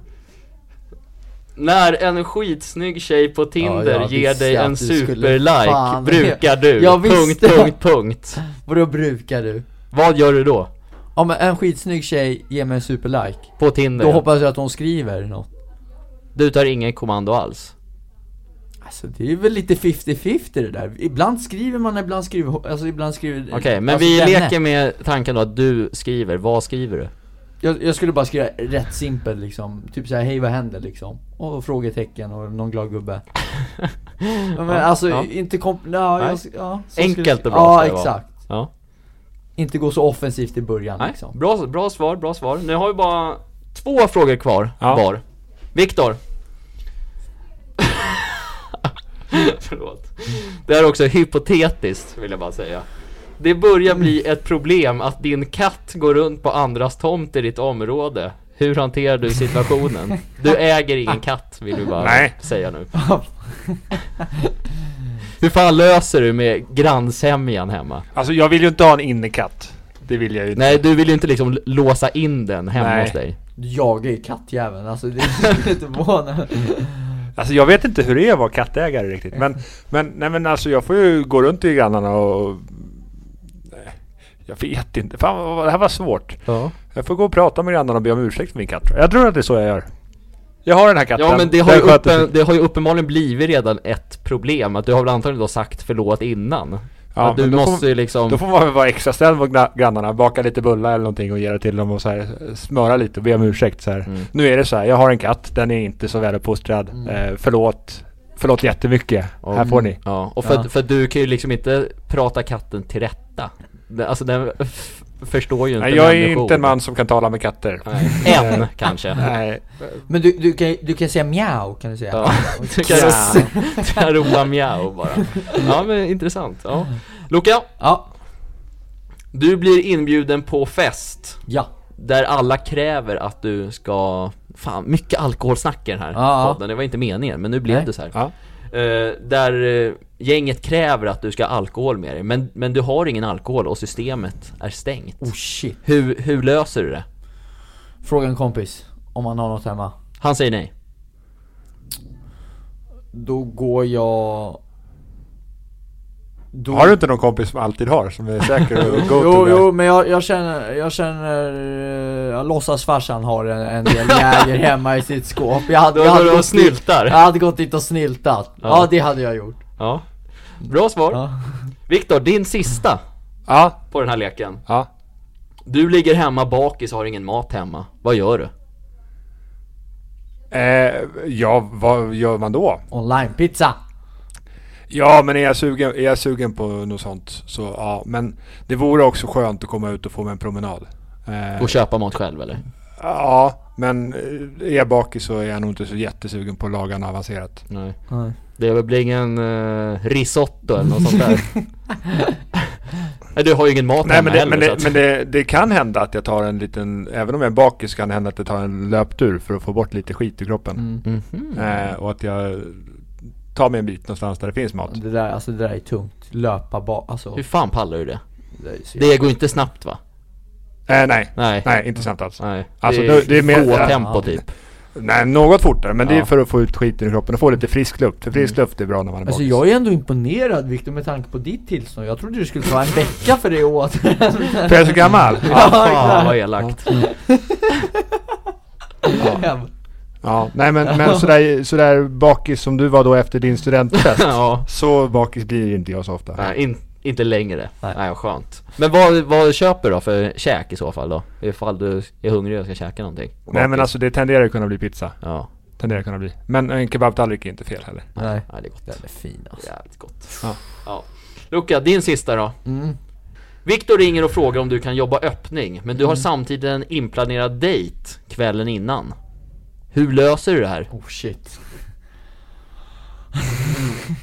När en skitsnygg tjej på Tinder jag ger visste dig att en du skulle- superlike Fan. brukar [LAUGHS] du... Jag punkt, visste. punkt, punkt. Vadå brukar du? Vad gör du då? Ja men en skitsnygg tjej ger mig en superlike, På Tinder? då hoppas jag att hon skriver något Du tar ingen kommando alls? Mm. Alltså det är väl lite 50-50 det där, ibland skriver man, ibland skriver alltså ibland skriver Okej, men alltså, vi denne. leker med tanken då att du skriver. Vad skriver du? jag, jag skulle bara skriva rätt simpel liksom, typ såhär hej vad händer liksom? Och frågetecken och någon glad [LAUGHS] gubbe ja, men alltså ja. inte komp... Ja, Nej. jag, ja, så Enkelt skulle jag- och bra Ja ska det vara. exakt, Ja. inte gå så offensivt i början Nej, liksom [LAUGHS] bra, bra svar, bra svar. Nu har vi bara två frågor kvar Ja. var. [LAUGHS] Viktor. Förlåt. Det här är också hypotetiskt, vill jag bara säga. Det börjar bli ett problem att din katt går runt på andras tomt i ditt område. Hur hanterar du situationen? Du äger ingen katt, vill du bara Nej. säga nu. Hur fan löser du med grannsämjan hemma? Alltså jag vill ju inte ha en innekatt. Det vill jag ju inte. Nej, du vill ju inte liksom l- låsa in den hemma Nej. hos dig. Du jagar ju kattjäveln, alltså det är [LAUGHS] lite förvånande Alltså jag vet inte hur det är att vara kattägare riktigt. Men, men, nej, men alltså jag får ju gå runt i grannarna och... Nej, Jag vet inte. Fan vad- vad- det här var svårt. Ja. Jag får gå och prata med grannarna och be om ursäkt för min katt. tror jag. Jag tror att det är så jag gör. Jag har den här katten. Ja men det har, Den ju sköter sig. uppen, det har ju uppenbarligen blivit redan ett problem, att du har väl antagligen då sagt förlåt innan? Ja, att du men då får- måste ju liksom... Då får man väl vara extra snäll mot gra- grannarna, baka lite bullar eller någonting och ge det till dem och så här, smöra lite och be om ursäkt så här. Mm. Nu är det så här, jag har en katt, den är inte så väluppfostrad. Eh, förlåt, förlåt jättemycket. Ja. Här får ni. Ja, och för, Ja. för du kan ju liksom inte prata katten till rätta. Det- Alltså den f- förstår ju inte Nej, jag är människor. inte en man som kan tala med katter. Nej. Än kanske. Nej, Men du, du, kan, du kan säga mjau, kan du säga? Ja, du kan Ja. du kan ropa mjau bara. Ja men intressant. Ja. Luca, Ja, du blir inbjuden på fest. ja. Där alla kräver att du ska... Fan, mycket alkoholsnack i den här Ja. podden. Det var inte meningen, men nu blev Nej. det så här. Ja. Eh, där eh, gänget kräver att du ska ha alkohol med dig, men, men du har ingen alkohol och systemet är stängt. Oh shit. Hur, hur löser du det? Fråga en kompis om han har något hemma. Han säger nej. Då går jag... Då... har du inte någon kompis som alltid har, som är säker och go Jo, jo, to jo. men jag, jag känner, jag känner, eh, jag låtsas farsan har en, en del [LAUGHS] jäger hemma i sitt skåp. Jag hade, Då jag har hade du och dit- snyltar. Jag hade gått dit och snyltat. Ja, Ja. det hade jag gjort. Ja. Bra svar. Ja. Viktor, din sista Ja, på den här leken. ja. Du ligger hemma bakis och har ingen mat hemma. Vad gör du? Eh, ja, vad gör man då? Online-pizza. Ja, men är jag sugen, är jag sugen på något sånt så ja. Men det vore också skönt att komma ut och få mig en promenad. Eh, Och köpa mat själv eller? Ja, men eh, är jag bakis så är jag nog inte så jättesugen på att laga något avancerat. Nej. Nej. Det väl blir ingen eh, risotto eller något sånt [LAUGHS] där. Nej du har ju ingen mat Nej, hemma men, det, heller men, så det, att- men det, det kan hända att jag tar en liten, även om jag är bakis kan det hända att jag tar en löptur för att få bort lite skit ur kroppen. Mhm. Eh, och att jag tar mig en bit någonstans där det finns mat. Det där, alltså det där är tungt. Löpa bara, alltså. Hur fan pallar du det? Det, är så jävla- Det går inte snabbt va? Eh, nej, Nej. nej, inte sant alls. Nej. Alltså, det, det- det är mer- gå ja. tempo [LAUGHS] typ. Nej, något fortare, men det Ja. Mm. är för att få ut skiten ur kroppen och få lite frisk luft. För frisk luft är bra när man är Alltså bakis. jag är ändå imponerad Viktor med tanke på ditt tillstånd. Jag trodde det skulle ta en vecka för dig åt. För jag är så gammal. [LAUGHS] Ja, fan vad elakt. [LAUGHS] Ja, nej men, men sådär, sådär bakis som du var då efter din [LAUGHS] studentfest. ja. Så bakis blir inte jag så ofta. Nej, in, inte längre. Nej. Nej. skönt. Men vad, vad köper du då för käk i så fall då? Ifall du är hungrig och ska käka någonting? Nej men Bakis. alltså det tenderar ju kunna bli pizza. Ja, Tenderar kunna bli. Men en kebabtallrik är inte fel heller. Nej. ja det är gott. Den är fin alltså. Jävligt gott. Ja. Ja. Luca, din sista då. Mm. Viktor ringer och frågar om du kan jobba öppning, men du har samtidigt en inplanerad dejt kvällen innan. Hur löser du det här? Oh shit.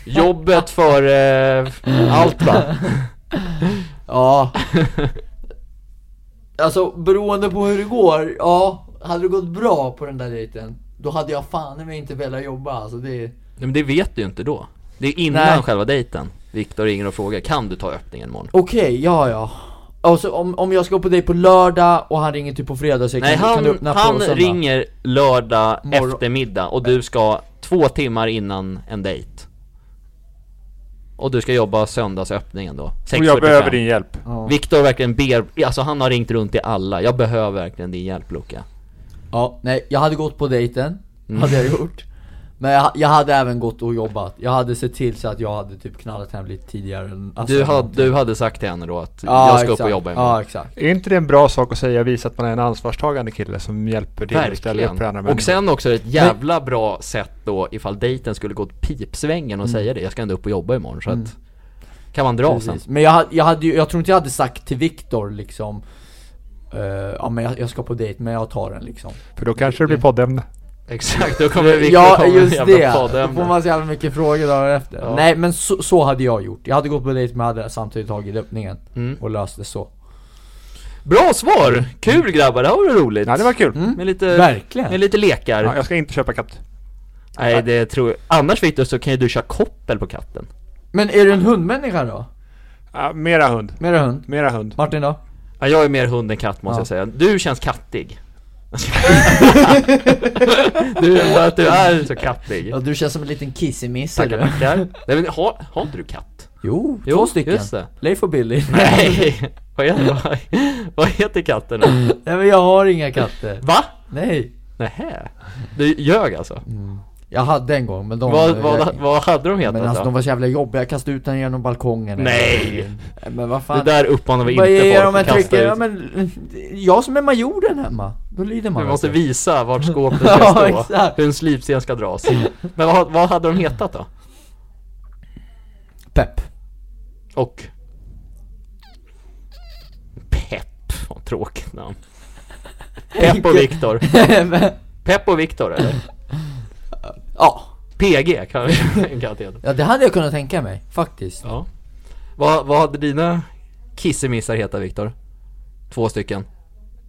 Jobbet för eh, allt va? Ja. alltså beroende på hur det går. Ja, hade det gått bra på den där dejten. Då hade jag fan i mig inte velat jobba alltså. Det är... Nej, men det vet du ju inte då. Det är innan Nej. själva dejten. Viktor ringer och frågar, kan du ta öppningen imorgon? Okej, ja ja. Alltså om, om jag ska på dig på lördag och han ringer typ på fredag så jag Nej kan, kan du han, öppna han på söndag? ringer lördag Morgon. eftermiddag och du ska två timmar innan en dejt Och du ska jobba söndagsöppningen då, 6.45 Och jag behöver din hjälp. Ja. Viktor verkligen ber, alltså han har ringt runt till alla, jag behöver verkligen din hjälp Luca Ja, nej, jag hade gått på dejten, hade jag gjort. Men jag, jag hade även gått och jobbat. Jag hade sett till så att jag hade typ knallat hem lite tidigare. än- Alltså, du, hade, du hade sagt till henne då att Ja, jag ska upp exakt. och jobba imorgon Ja, exakt. Är inte det en bra sak att säga? Visa att man är en ansvarstagande kille som hjälper till och ställer upp för andra Verkligen. Och människor. sen också ett jävla bra sätt då ifall dejten skulle gå åt pipsvängen och säga det, jag ska ändå upp och jobba imorgon så att Kan man dra sen? Mm. Precis. Men jag, hade- jag, hade, ju- jag tror inte jag hade sagt till Viktor liksom eh, ja men jag, jag ska på dejt men jag tar den liksom. För då kanske det blir poddämne. Exakt, då kommer Viktor ja komma med just jävla det, då poddämne. får man så jävla mycket frågor dagen efter. Ja. Nej men så, så hade jag gjort. Jag hade gått på dejt men jag hade samtidigt tagit öppningen Mm. och löst det så. Bra svar! Kul grabbar, det här var roligt. Ja, det var kul. Med lite, Verkligen. med lite lekar. Ja, jag ska inte köpa katt. Nej det tror jag. Annars Viktor så kan ju du köra koppel på katten. Men är du en hundmänniska då? Ja, mera hund. Mera hund? Mera hund. Martin då? Ja, jag är mer hund än katt måste Ja. jag säga. Du känns kattig. du, är- att du är så kattig. Ja, du känns som en liten kissemisse Tackar du. tackar. Nej men har, har inte du katt? Jo, Jo, två stycken. just det. Leif och Billy. Nej! [LAUGHS] vad, är, vad, vad heter katten då? [LAUGHS] Nej men jag har inga katter. Va? Nej. Nähä? Du ljög alltså? Jag hade en gång men de... Vad, vad, jag, vad hade de hetat men alltså då? de var så jävla jobbiga, jag kastade ut den genom balkongen. Nej! Nej, Men vad Det fan. där uppmanar vi Vad inte är det om folk att jag kasta trycker? Ja, ut. men, jag som är majoren hemma. Då lider man. Vi måste alltså. visa [LAUGHS] vart skåpet Ja, ska stå, exakt. hur en slipsten ska dras. Men vad, vad hade de hetat då? [LAUGHS] Pepp. Och? Pepp, vad tråkigt namn. Pepp och Viktor. Pepp och Viktor eller? ja. PG kan vi [LAUGHS] kan heta. ja, det hade jag kunnat tänka mig faktiskt. Ja. Vad, vad hade dina kissemissar hetat Viktor? Två stycken.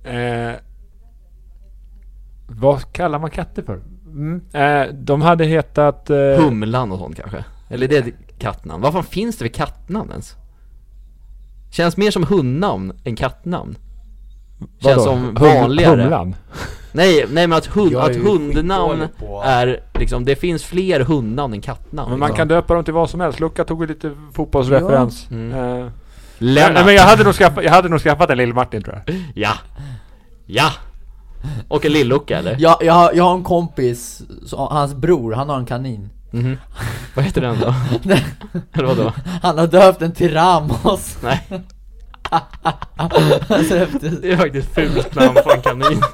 Eh, vad kallar man katter för? Eh, de hade hetat... Eh, Humlan och sånt kanske? Eller det är ett kattnamn. Vad fan finns det för kattnamn ens? Känns mer som hundnamn än kattnamn. vadå? Känns som Hum- vanligare. Humlan. Nej, nej men att, hund, Jag är att ju hundnamn skitdålig på- är liksom, det finns fler hundnamn än kattnamn. Men man kan döpa dem till vad som helst. Luca tog ju lite fotbollsreferens. Eh, Mm. Lennart. Nej, men jag hade nog skaffat, jag hade nog skaffat en lill-Martin tror jag. Ja. Ja. Och en lillucka eller? Jag, jag, har- jag har en kompis, så, hans bror, han har en kanin. [LAUGHS] Mhm. Vad heter den då? eller vadå? Han har döpt den till Ramos. Nej, [LAUGHS] Alltså efter... det är faktiskt fult namn på en kanin. [LAUGHS]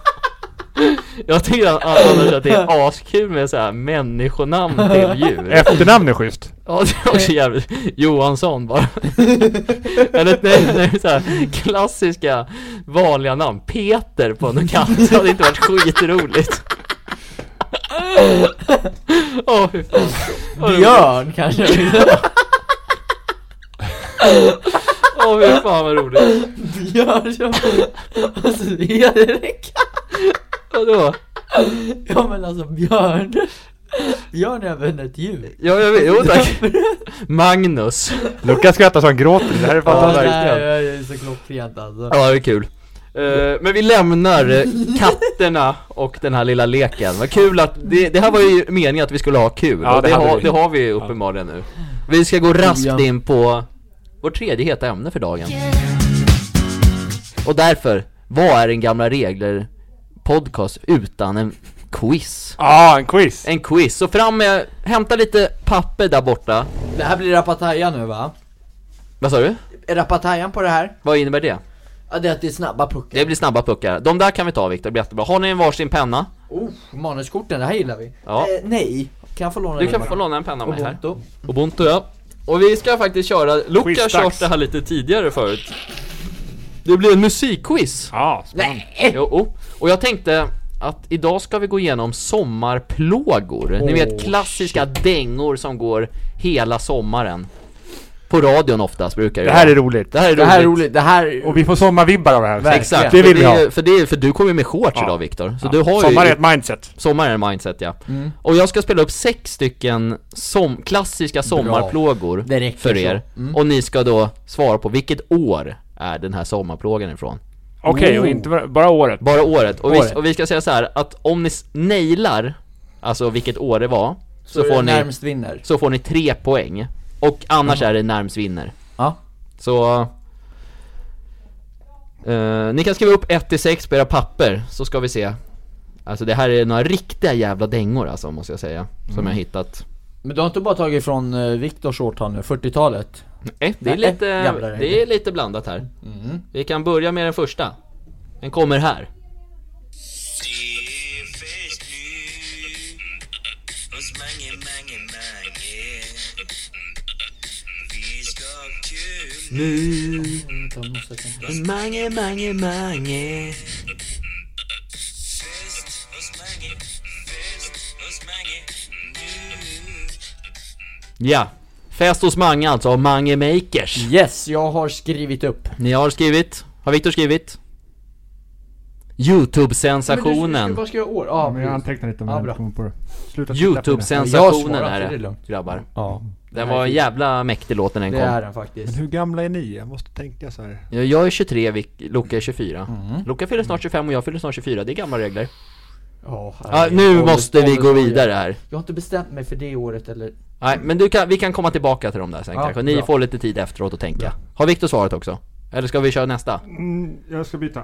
Jag tycker att annars att det är askul med så här människonamn till [LAUGHS] djur. Efternamn är schysst. Ja, det är också jävligt. Johansson bara. Eller nej, nej så här klassiska vanliga namn. Peter på någon katt. Det hade inte varit skitroligt. Åh, fy fan. Vad roligt. Björn kanske? [LAUGHS] Åh, fy fan vad roligt. Björn som... Alltså det är direkt. Vadå? Ja men alltså Björn. Björn är även ett djur. Ja, jag vet. Jo tack. Magnus. Lukas skrattar så han gråter. Det här är Ja, det fantastiskt. här är så klockrent alltså. Ja, det är kul. Eh, men vi lämnar eh, katterna och den här lilla leken. Vad kul att, det, det här var ju meningen att vi skulle ha kul. Ja, och det, det hade har, vi. det har vi uppenbarligen nu. Vi ska gå raskt Ja. in på vårt tredje heta ämne för dagen. Och därför, vad är en gamla regler podcast utan en quiz? Ja, en quiz. En quiz, så fram med, hämta lite papper där borta. Det här blir rapataja nu va? Vad sa du? Är rapatajan på det här? Vad innebär det? Ja det är att det är snabba puckar. Det blir snabba puckar. De där kan vi ta Viktor, det blir jättebra. Har ni en varsin penna? Oh, manuskorten, det här gillar vi. Ja. Eh, nej, kan jag få låna Du den kan bara? få låna en penna av mig här. Ubuntu. Ubuntu ja. Och vi ska faktiskt köra, Luca har Quizdags. kört det här lite tidigare förut. Det blir en musikquiz. Ja, Nej! Jo, oh. och jag tänkte att idag ska vi gå igenom sommarplågor. Ni vet klassiska dängor som går hela sommaren. På radion oftast brukar det här vara. är roligt. det här är roligt. Det här är roligt, det här... Och vi får sommarvibbar av det här. Exakt, Det vill för, vi ha. är- för, det är, för du kommer ju med shorts Ja. idag Viktor. Så Ja. du har Sommar ju... är ett mindset. Sommar är mindset ja. Mm. Och jag ska spela upp sex stycken som, klassiska sommarplågor Det räcker för er. så. Mm. Och ni ska då svara på vilket år är den här sommarplågan ifrån. Okej, Oh. och inte bara, bara året. Bara året. Och, Året. Vi, och vi ska säga så här att om ni s- nailar, alltså vilket år det var, så, är det får, ni, närmst vinner. så får ni tre poäng. Och annars är det närmst vinner. Ja. Så... eh, ni kan skriva upp 1-6 på era papper, så ska vi se. Alltså det här är några riktiga jävla dängor alltså, måste jag säga. Som Mm. jag hittat. Men du har inte bara tagit från eh, Viktors årtal nu, 40-talet? Nej, det är Eh, Nej, lite, jävlar. det är lite blandat här. Mm. Vi kan börja med den första. Den kommer här. Det är fest nu hos mange, mange, mange. Vi ska ha kul Nu, mange, mange, mange. fest hos mange, fest hos mange nu. Ja, fest hos Mange alltså, av Mange Makers. Yes, jag har skrivit upp. Ni har skrivit, har Viktor skrivit? Youtube-sensationen. Vad ska jag år? Ja, men jag... antecknar lite om Ja, bra. kommer på det. Sluta titta på det. Jag Youtube-sensationen svarar, är så det är det, lugnt. grabbar. ja Den var en jävla mäktig låt när den det är kom. den Men faktiskt. hur gamla är ni? Jag måste tänka så här. Jag- Jag är 23, Vic- Luca är 24. Mm. Luca fyller snart 25 och jag fyller snart 24, det är gamla regler. Ja, Ja, herregud. nu Ålder- måste vi gå åldersfråga. vidare här. Jag har inte bestämt mig för det året eller... Nej, men du kan, vi kan komma tillbaka till dem där sen Ja, kanske. Ni bra. får lite tid efteråt att tänka. Har Viktor svaret också? Eller ska vi köra nästa? Mm, jag ska byta.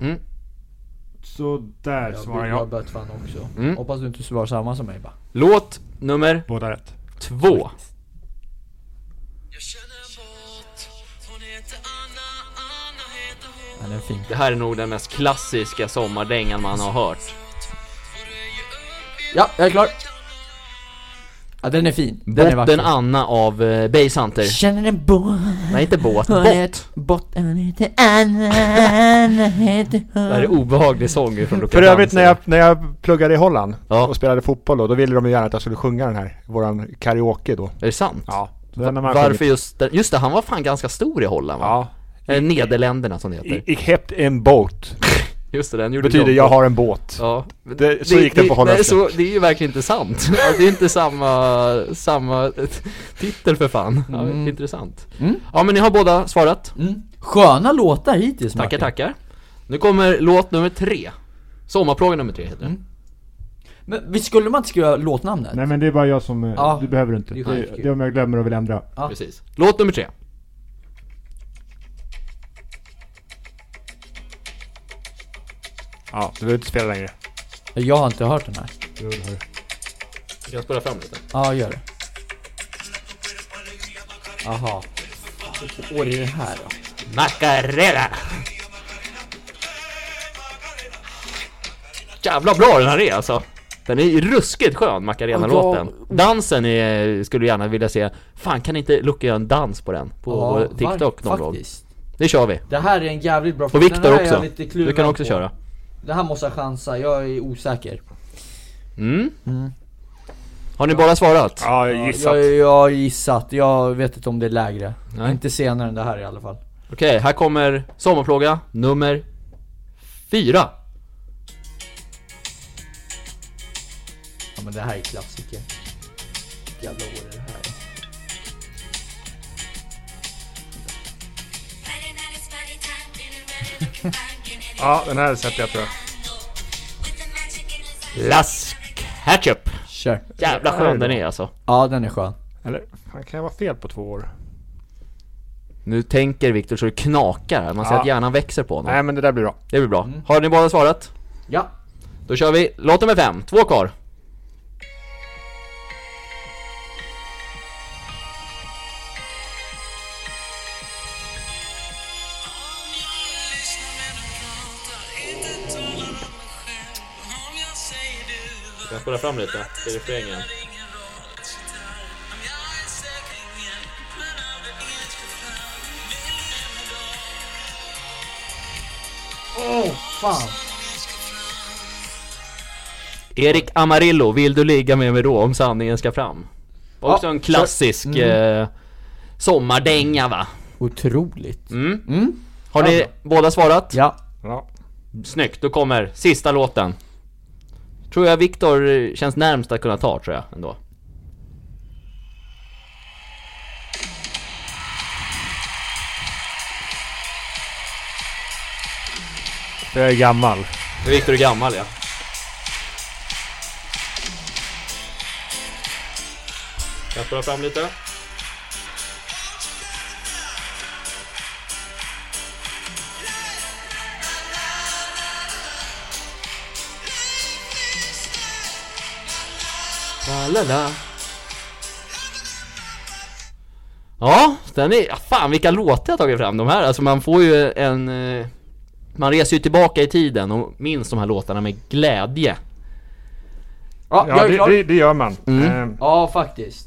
Mm. Så där svarar Jag har jag. börjat fan också. Mm. Hoppas du inte svarar samma som mig bara. Låt nummer Båda rätt. två. Jag känner en båt, hon heter Anna, Anna heter hon. Den är fin. Det här är nog den mest klassiska sommardängan man har hört. Ja, jag är klar. Ja, den är fin. Den är Botten vacker. Anna av uh, Base Hunter. Känner en båt. Nej, inte båt. Hon Bott. heter Botten heter Anna, Anna heter Det här är hon. obehaglig sång från Lukas För övrigt Hansen. när jag, när jag pluggade i Holland Ja. och spelade fotboll då, då ville de ju gärna att jag skulle sjunga den här, våran karaoke då. Är det sant? Ja. Så den har man Varför sjungit. just den? Just det, han var fan ganska stor i Holland va? Ja. Eller Nederländerna som det heter. I, I kept en boat. Just det, den gjorde Betyder de. jag har en båt. Ja. Det, så gick den på nej, holländska. så, det är ju verkligen [LAUGHS] inte sant. Ja, det är inte samma, samma titel för fan. Ja, Mm. Intressant. Ja men ni har båda svarat. Mm. Sköna låtar hittills Tackar, Martin. tackar. Nu kommer låt nummer tre. Sommarplåga nummer tre heter den. Mm. Men visst skulle man inte skriva låtnamnet? Nej men det är bara jag som, eh, Ja. du behöver inte. Det är Det, skitkul. det är om jag glömmer och vill ändra. Ja. Precis. Låt nummer tre. Ja, du behöver inte spela längre. Jag har inte hört den här. Jag kan spela fram lite. Ja, gör det. Aha. Vilket år är det här då? Macarena! jävla bra den här är alltså! Den är ruskigt skön, Macarena-låten. Dansen är, skulle du gärna vilja se. Fan kan inte Luca göra en dans på den? På vår TikTok någon gång? faktiskt. Det kör vi. Det här är en jävligt bra Och fråga. Den Viktor här är jag också. lite Du kan kluven också på. köra. Det här måste jag chansa, jag är osäker. Mm. Har ni bara svarat? Ja, jag gissat. Jag, jag har gissat, jag vet inte om det är lägre. Nej. Inte senare än det här i alla fall. Okej, här kommer sommarplåga nummer fyra. Ja men det här är klassiker. Jävla år är det här? Ja, den här sätter jag tror jag. Las Ketchup. Kör. Jävla skön den är alltså. Ja den är skön. Eller, fan kan jag vara fel på två år? Nu tänker Viktor så det knakar här. Man ser Ja. att hjärnan växer på honom. Nej men Mm. det där blir bra. Det blir bra. Har ni båda svarat? Ja. Då kör vi låt nummer fem. Två kvar. Om jag lyssnar när de pratar, inte talar om mig själv. Om jag säger du var Jag spolar fram lite till refrängen. ingen roll, gitarr. Om jag är säkringen, men aldrig ens för fan. Vill leva dag, Åh fan. Erik Amarillo, vill du ligga med mig då om sanningen ska fram? Också en klassisk Mm. eh, sommardänga va? Otroligt. Mm. Har ni båda svarat? Ja. Ja. Snyggt, då kommer sista låten. Tror jag Viktor eh, känns närmst att kunna ta tror jag ändå. Jag är gammal. För Viktor är gammal ja. Jag spolar fram lite. La-la-la. Ja, den är... ja, Fan vilka låtar jag tagit fram de här. Alltså man får ju en... eh, Man reser ju tillbaka i tiden och minns de här låtarna med glädje. Ja, Ja, jag är det, klar. det, det gör man. Eh, Ja faktiskt.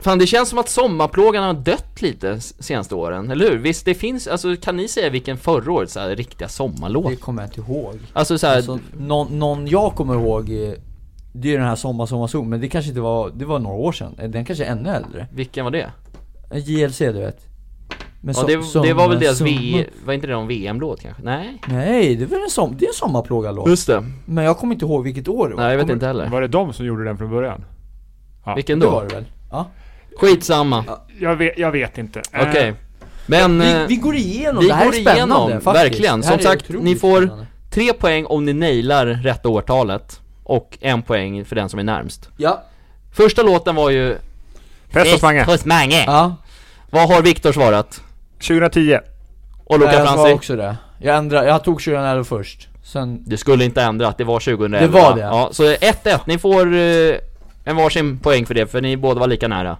Fan det känns som att sommarplågan har dött lite s- senaste åren, eller hur? Visst det finns, alltså kan ni säga vilken förra årets så här, riktiga sommarlåt? Det kommer jag inte ihåg. Alltså såhär, Alltså, någon, någon jag kommer ihåg, eh, det är den här Sommar Sommar Sol, men det kanske inte var, det var några år sedan. Eh, Den kanske är ännu äldre. vilken var det? Eh, JLC du vet. Men Ja so- det, det var väl sommar- deras V, sommar- var inte det någon VM-låt kanske? Nej? Nej, det var en, som, det är en sommarplågalåt. Just det, Men jag kommer inte ihåg vilket år det var. nej jag vet kommer, inte heller. Var det de som gjorde den från början? Vilken Det var då? det väl? Ja. Skitsamma, Jag vet, jag vet inte. Eh, okej. Men... Vi, eh, vi går igenom, vi det här går är spännande igenom, faktiskt. verkligen. Det här Som är sagt, otroligt ni får- spännande. Tre poäng om ni nailar rätta årtalet och en poäng för den som är närmst. Ja. Första låten var ju... Fest hos Mange. Hos Mange. ja. Vad har Viktor svarat? 2010. Och Nej, Luca Eh, jag var Franzi? också det. Jag ändrade, jag tog 2011 först. Sen, Det skulle inte ändra att det var 2011 Det var det. Ja, så 1-1, ni får eh, en varsin poäng för det för ni båda var lika nära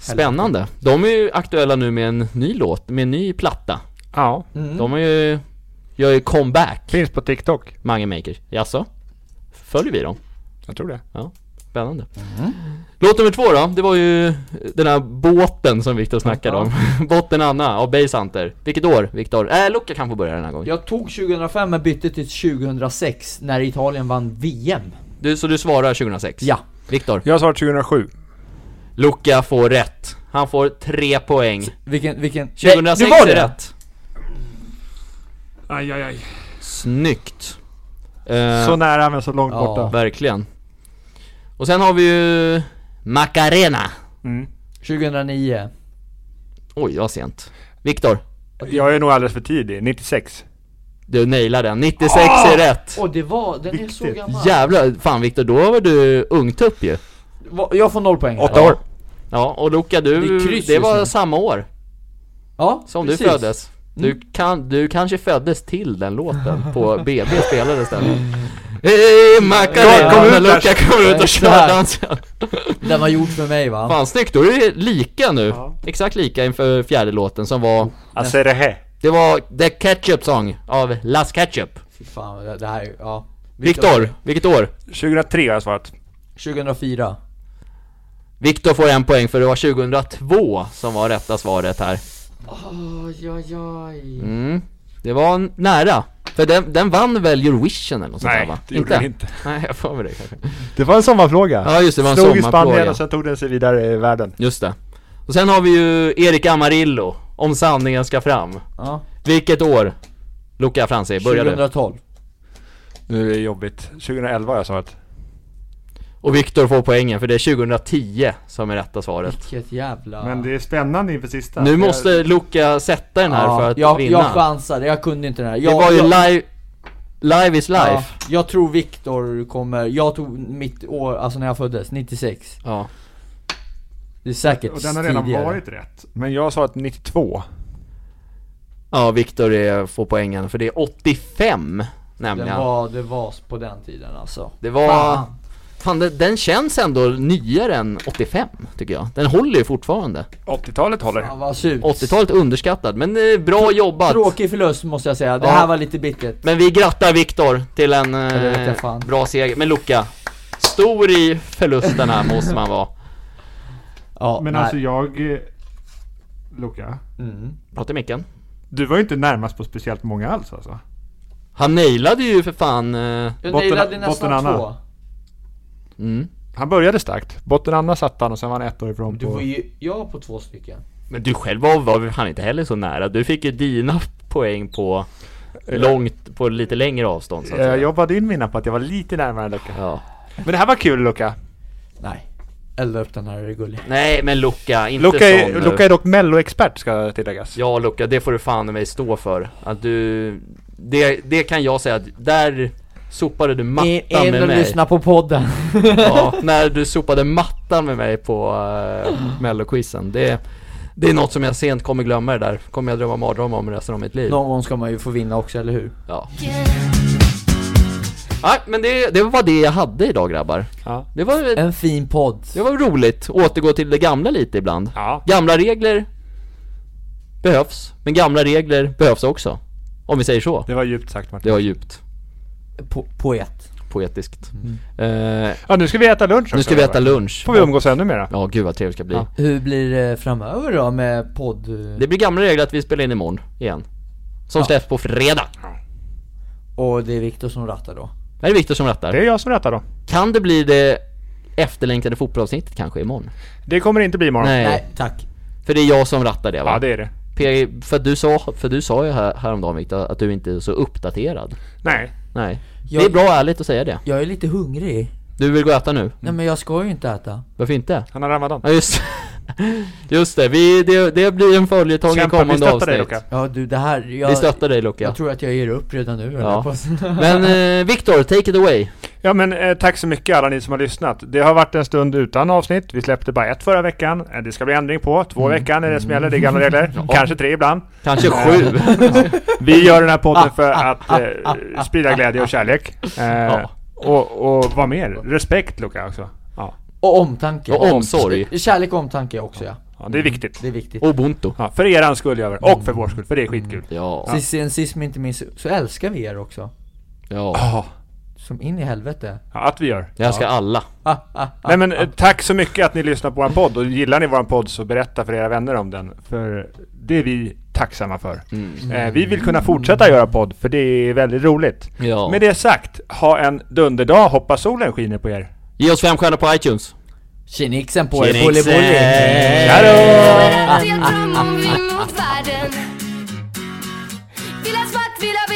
Spännande, de är ju aktuella nu med en ny låt, med en ny platta Ja. Mm. De har ju, gör ju comeback, Finns på TikTok. Mange Maker Jaså? Följer vi dem? Jag tror det. Spännande Mm. Låt nummer två då, det var ju den här båten som Viktor snackade om [LAUGHS] Botten Anna av Base Hunter Vilket år, Viktor? Äh, Luca kan få börja den här gången jag tog 2005 men bytte till 2006 när Italien vann VM. du, Så du svarar 2006? Ja. Viktor? Jag svarar 2007. Luca får rätt. Han får tre poäng. Vilken, vilken... 2006 Nej, det var är det! rätt. Aj, aj, aj. Snyggt. Eh, Så nära men så långt borta. verkligen. Och sen har vi ju Macarena. 2009. Oj, det var sent. Viktor, Jag är nog alldeles för tidig. 96. du nailar den. 96 är Ah! rätt. Åh det var, den är så gammal. Jävlar, fan Viktor, då var du ungtupp ju. Va- Jag får noll poäng. här. Åtta Ja. år. Ja, och Luca Det du, är det, kryss just var nu. samma år Ja, som precis. du föddes. Du, kan, du kanske föddes till den låten på BB spelades den. Hej Macarena! Kom ut När där. Luca kommer ut och Så kör här. dansen. Den var gjord för mig va? Alltså, Fan snyggt, då är det lika nu. Exakt lika inför fjärde låten som var Acerehe. Det var The Ketchup Song av Las Ketchup Fy fan, det det här är, ja. Viktor, vilket år? 2003 har jag svarat. 2004. Viktor får en poäng för det var 2002 som var rätta svaret här Oj, oj, oj. mm. Det var n- nära, för den, den vann väl Eurovision eller något sånt där va? det gjorde den inte. [LAUGHS] Nej, jag får med det kanske Det var en sommarfråga. Ja just det, det var en Slog i Spanien sommarplåga och sen tog den sig vidare i världen. Just det Och sen har vi ju Erik Amarillo, Om sanningen ska fram Ja. Vilket år? Luca Franzi, börja du 2012. Nu är det jobbigt. 2011 har jag svarat. Och Viktor får poängen för det är 2010 som är rätta svaret Vilket jävla... Men det är spännande inför sista. Nu måste Luca sätta den här alltså. Ja, för att jag, vinna Jag chansade, jag kunde inte den här. Jag, Det var ju jag, live, live is ja, life jag tror Viktor kommer, jag tog mitt år, alltså när jag föddes, 96. Ja, Det är säkert Och den har redan tidigare. varit rätt. Men jag har svarat 92. ja Viktor är- får poängen för det är 85 Den nämligen var, det var på den tiden alltså. Det var... Fan, Fan. den, den känns ändå nyare än 85 tycker jag Den håller ju fortfarande 80-talet håller. Fan vad surt. 80-talet underskattad men eh, bra jobbat Tråkig förlust måste jag säga, det Ja. här var lite bittert. Men vi grattar Viktor till en det vet eh, jag fan. bra seger, men Luca Stor i förlusten [LAUGHS] här måste man vara Ja, Men nej. alltså jag... eh, Luca, Mm. Prata i micken du var ju inte närmast på speciellt många alls alltså. Han nailade ju för fan eh, Jag Botten- nailade nästan botten Anna. två. mm. Han började starkt. Botten Anna satte han och sen var han ett år ifrån Du var på... ju, jag på två stycken. Men du själv var, var han inte heller så nära, du fick ju dina poäng på långt, på lite längre avstånd så att Eh, Jag säga. jobbade in mina på att jag var lite närmare Luca. Ja. Men det här var kul Luca. Nej. Elda upp den här, är gullig. Nej men Luca, inte Luca sån är, nu. Luca är dock melloexpert ska tilläggas. eh, Ja Luca, det får du fan i mig stå för. Att du, det, det kan jag säga att där sopade du mattan In med och mig. lyssna på podden. Ja, när du sopade mattan med mig på uh, melloquizen. Det, det är något som jag sent kommer glömma det där. Kommer jag drömma mardrömmar om resten av mitt liv. Någon gång ska man ju få vinna också, eller hur? Ja. Yeah. Nej men det, det var det jag hade idag grabbar. Ja. Det var En fin podd. Det var roligt, återgå till det gamla lite ibland. Ja. Gamla regler behövs, men gamla regler behövs också. Om vi säger så. Det var djupt sagt Martin. Det var djupt, Po- poet. poetiskt. Eh, Ja, nu ska vi äta lunch också. nu ska vi äta lunch. Mm. Får vi umgås ännu mera. Ja, gud vad trevligt det ska bli. Ja. Hur blir det framöver då med podd? Det blir gamla regler att vi spelar in imorgon igen. Som släpps på fredag. Och det är Viktor som rattar då. Det är Viktor som rattar. Det är jag som rättar då. Kan det bli det efterlängtade fotbollsavsnittet kanske imorgon? Det kommer inte bli imorgon. Nej. Nej, tack. För det är jag som rattar det va? Ja, det är det. P- för, att du sa, för du sa ju här, häromdagen Viktor att du inte är så uppdaterad. Nej. Nej. Jag- Det är bra och ärligt att säga det. Jag är lite hungrig. Du vill gå och äta nu? Nej men jag ska ju inte äta. Varför inte? Han har ramadan. Ja just [LAUGHS] Just det, vi, det, det blir en följetong i Kämpa, vi kommande stöttar avsnitt dig Luca. Ja du det här, jag, Vi stöttar dig Luca jag tror att jag ger upp redan nu Ja. ja. på. Men eh, Viktor, take it away Ja men eh, tack så mycket alla ni som har lyssnat. Det har varit en stund utan avsnitt. Vi släppte bara ett förra veckan. Eh, Det ska bli ändring på. Två i veckan är det som gäller. Det är gamla regler. Kanske tre ibland. Kanske sju Vi gör den här podden för att eh, sprida glädje och kärlek. Eh, Ja. och, och vad mer? Respekt Luca också. Ja, [LAUGHS] Och omtanke. Och omsorg Kärlek och omtanke också ja. ja det är viktigt. Det är viktigt. Ubuntu Ja, för er skull gör vi det. Och för vår skull. För det är skitkul. Ja, Sist, sen sist men inte minst så älskar vi er också. ja Som in i helvete. Ja, att vi gör. Jag älskar alla Ah, ah, ah. Nej men eh, tack så mycket att ni lyssnar på vår podd och gillar ni vår podd så berätta för era vänner om den. För det är vi tacksamma för. Eh, vi vill kunna fortsätta göra podd för det är väldigt roligt. Ja Med det sagt, ha en dunderdag, hoppas solen skiner på er. Ge oss fem stjärnor på iTunes Tjenixen på er, Tjenixen. bully bully. Hej. Hej då! Jag drömmer om vi mot världen Vill ha svart, vill ha vitt Ah, Ah,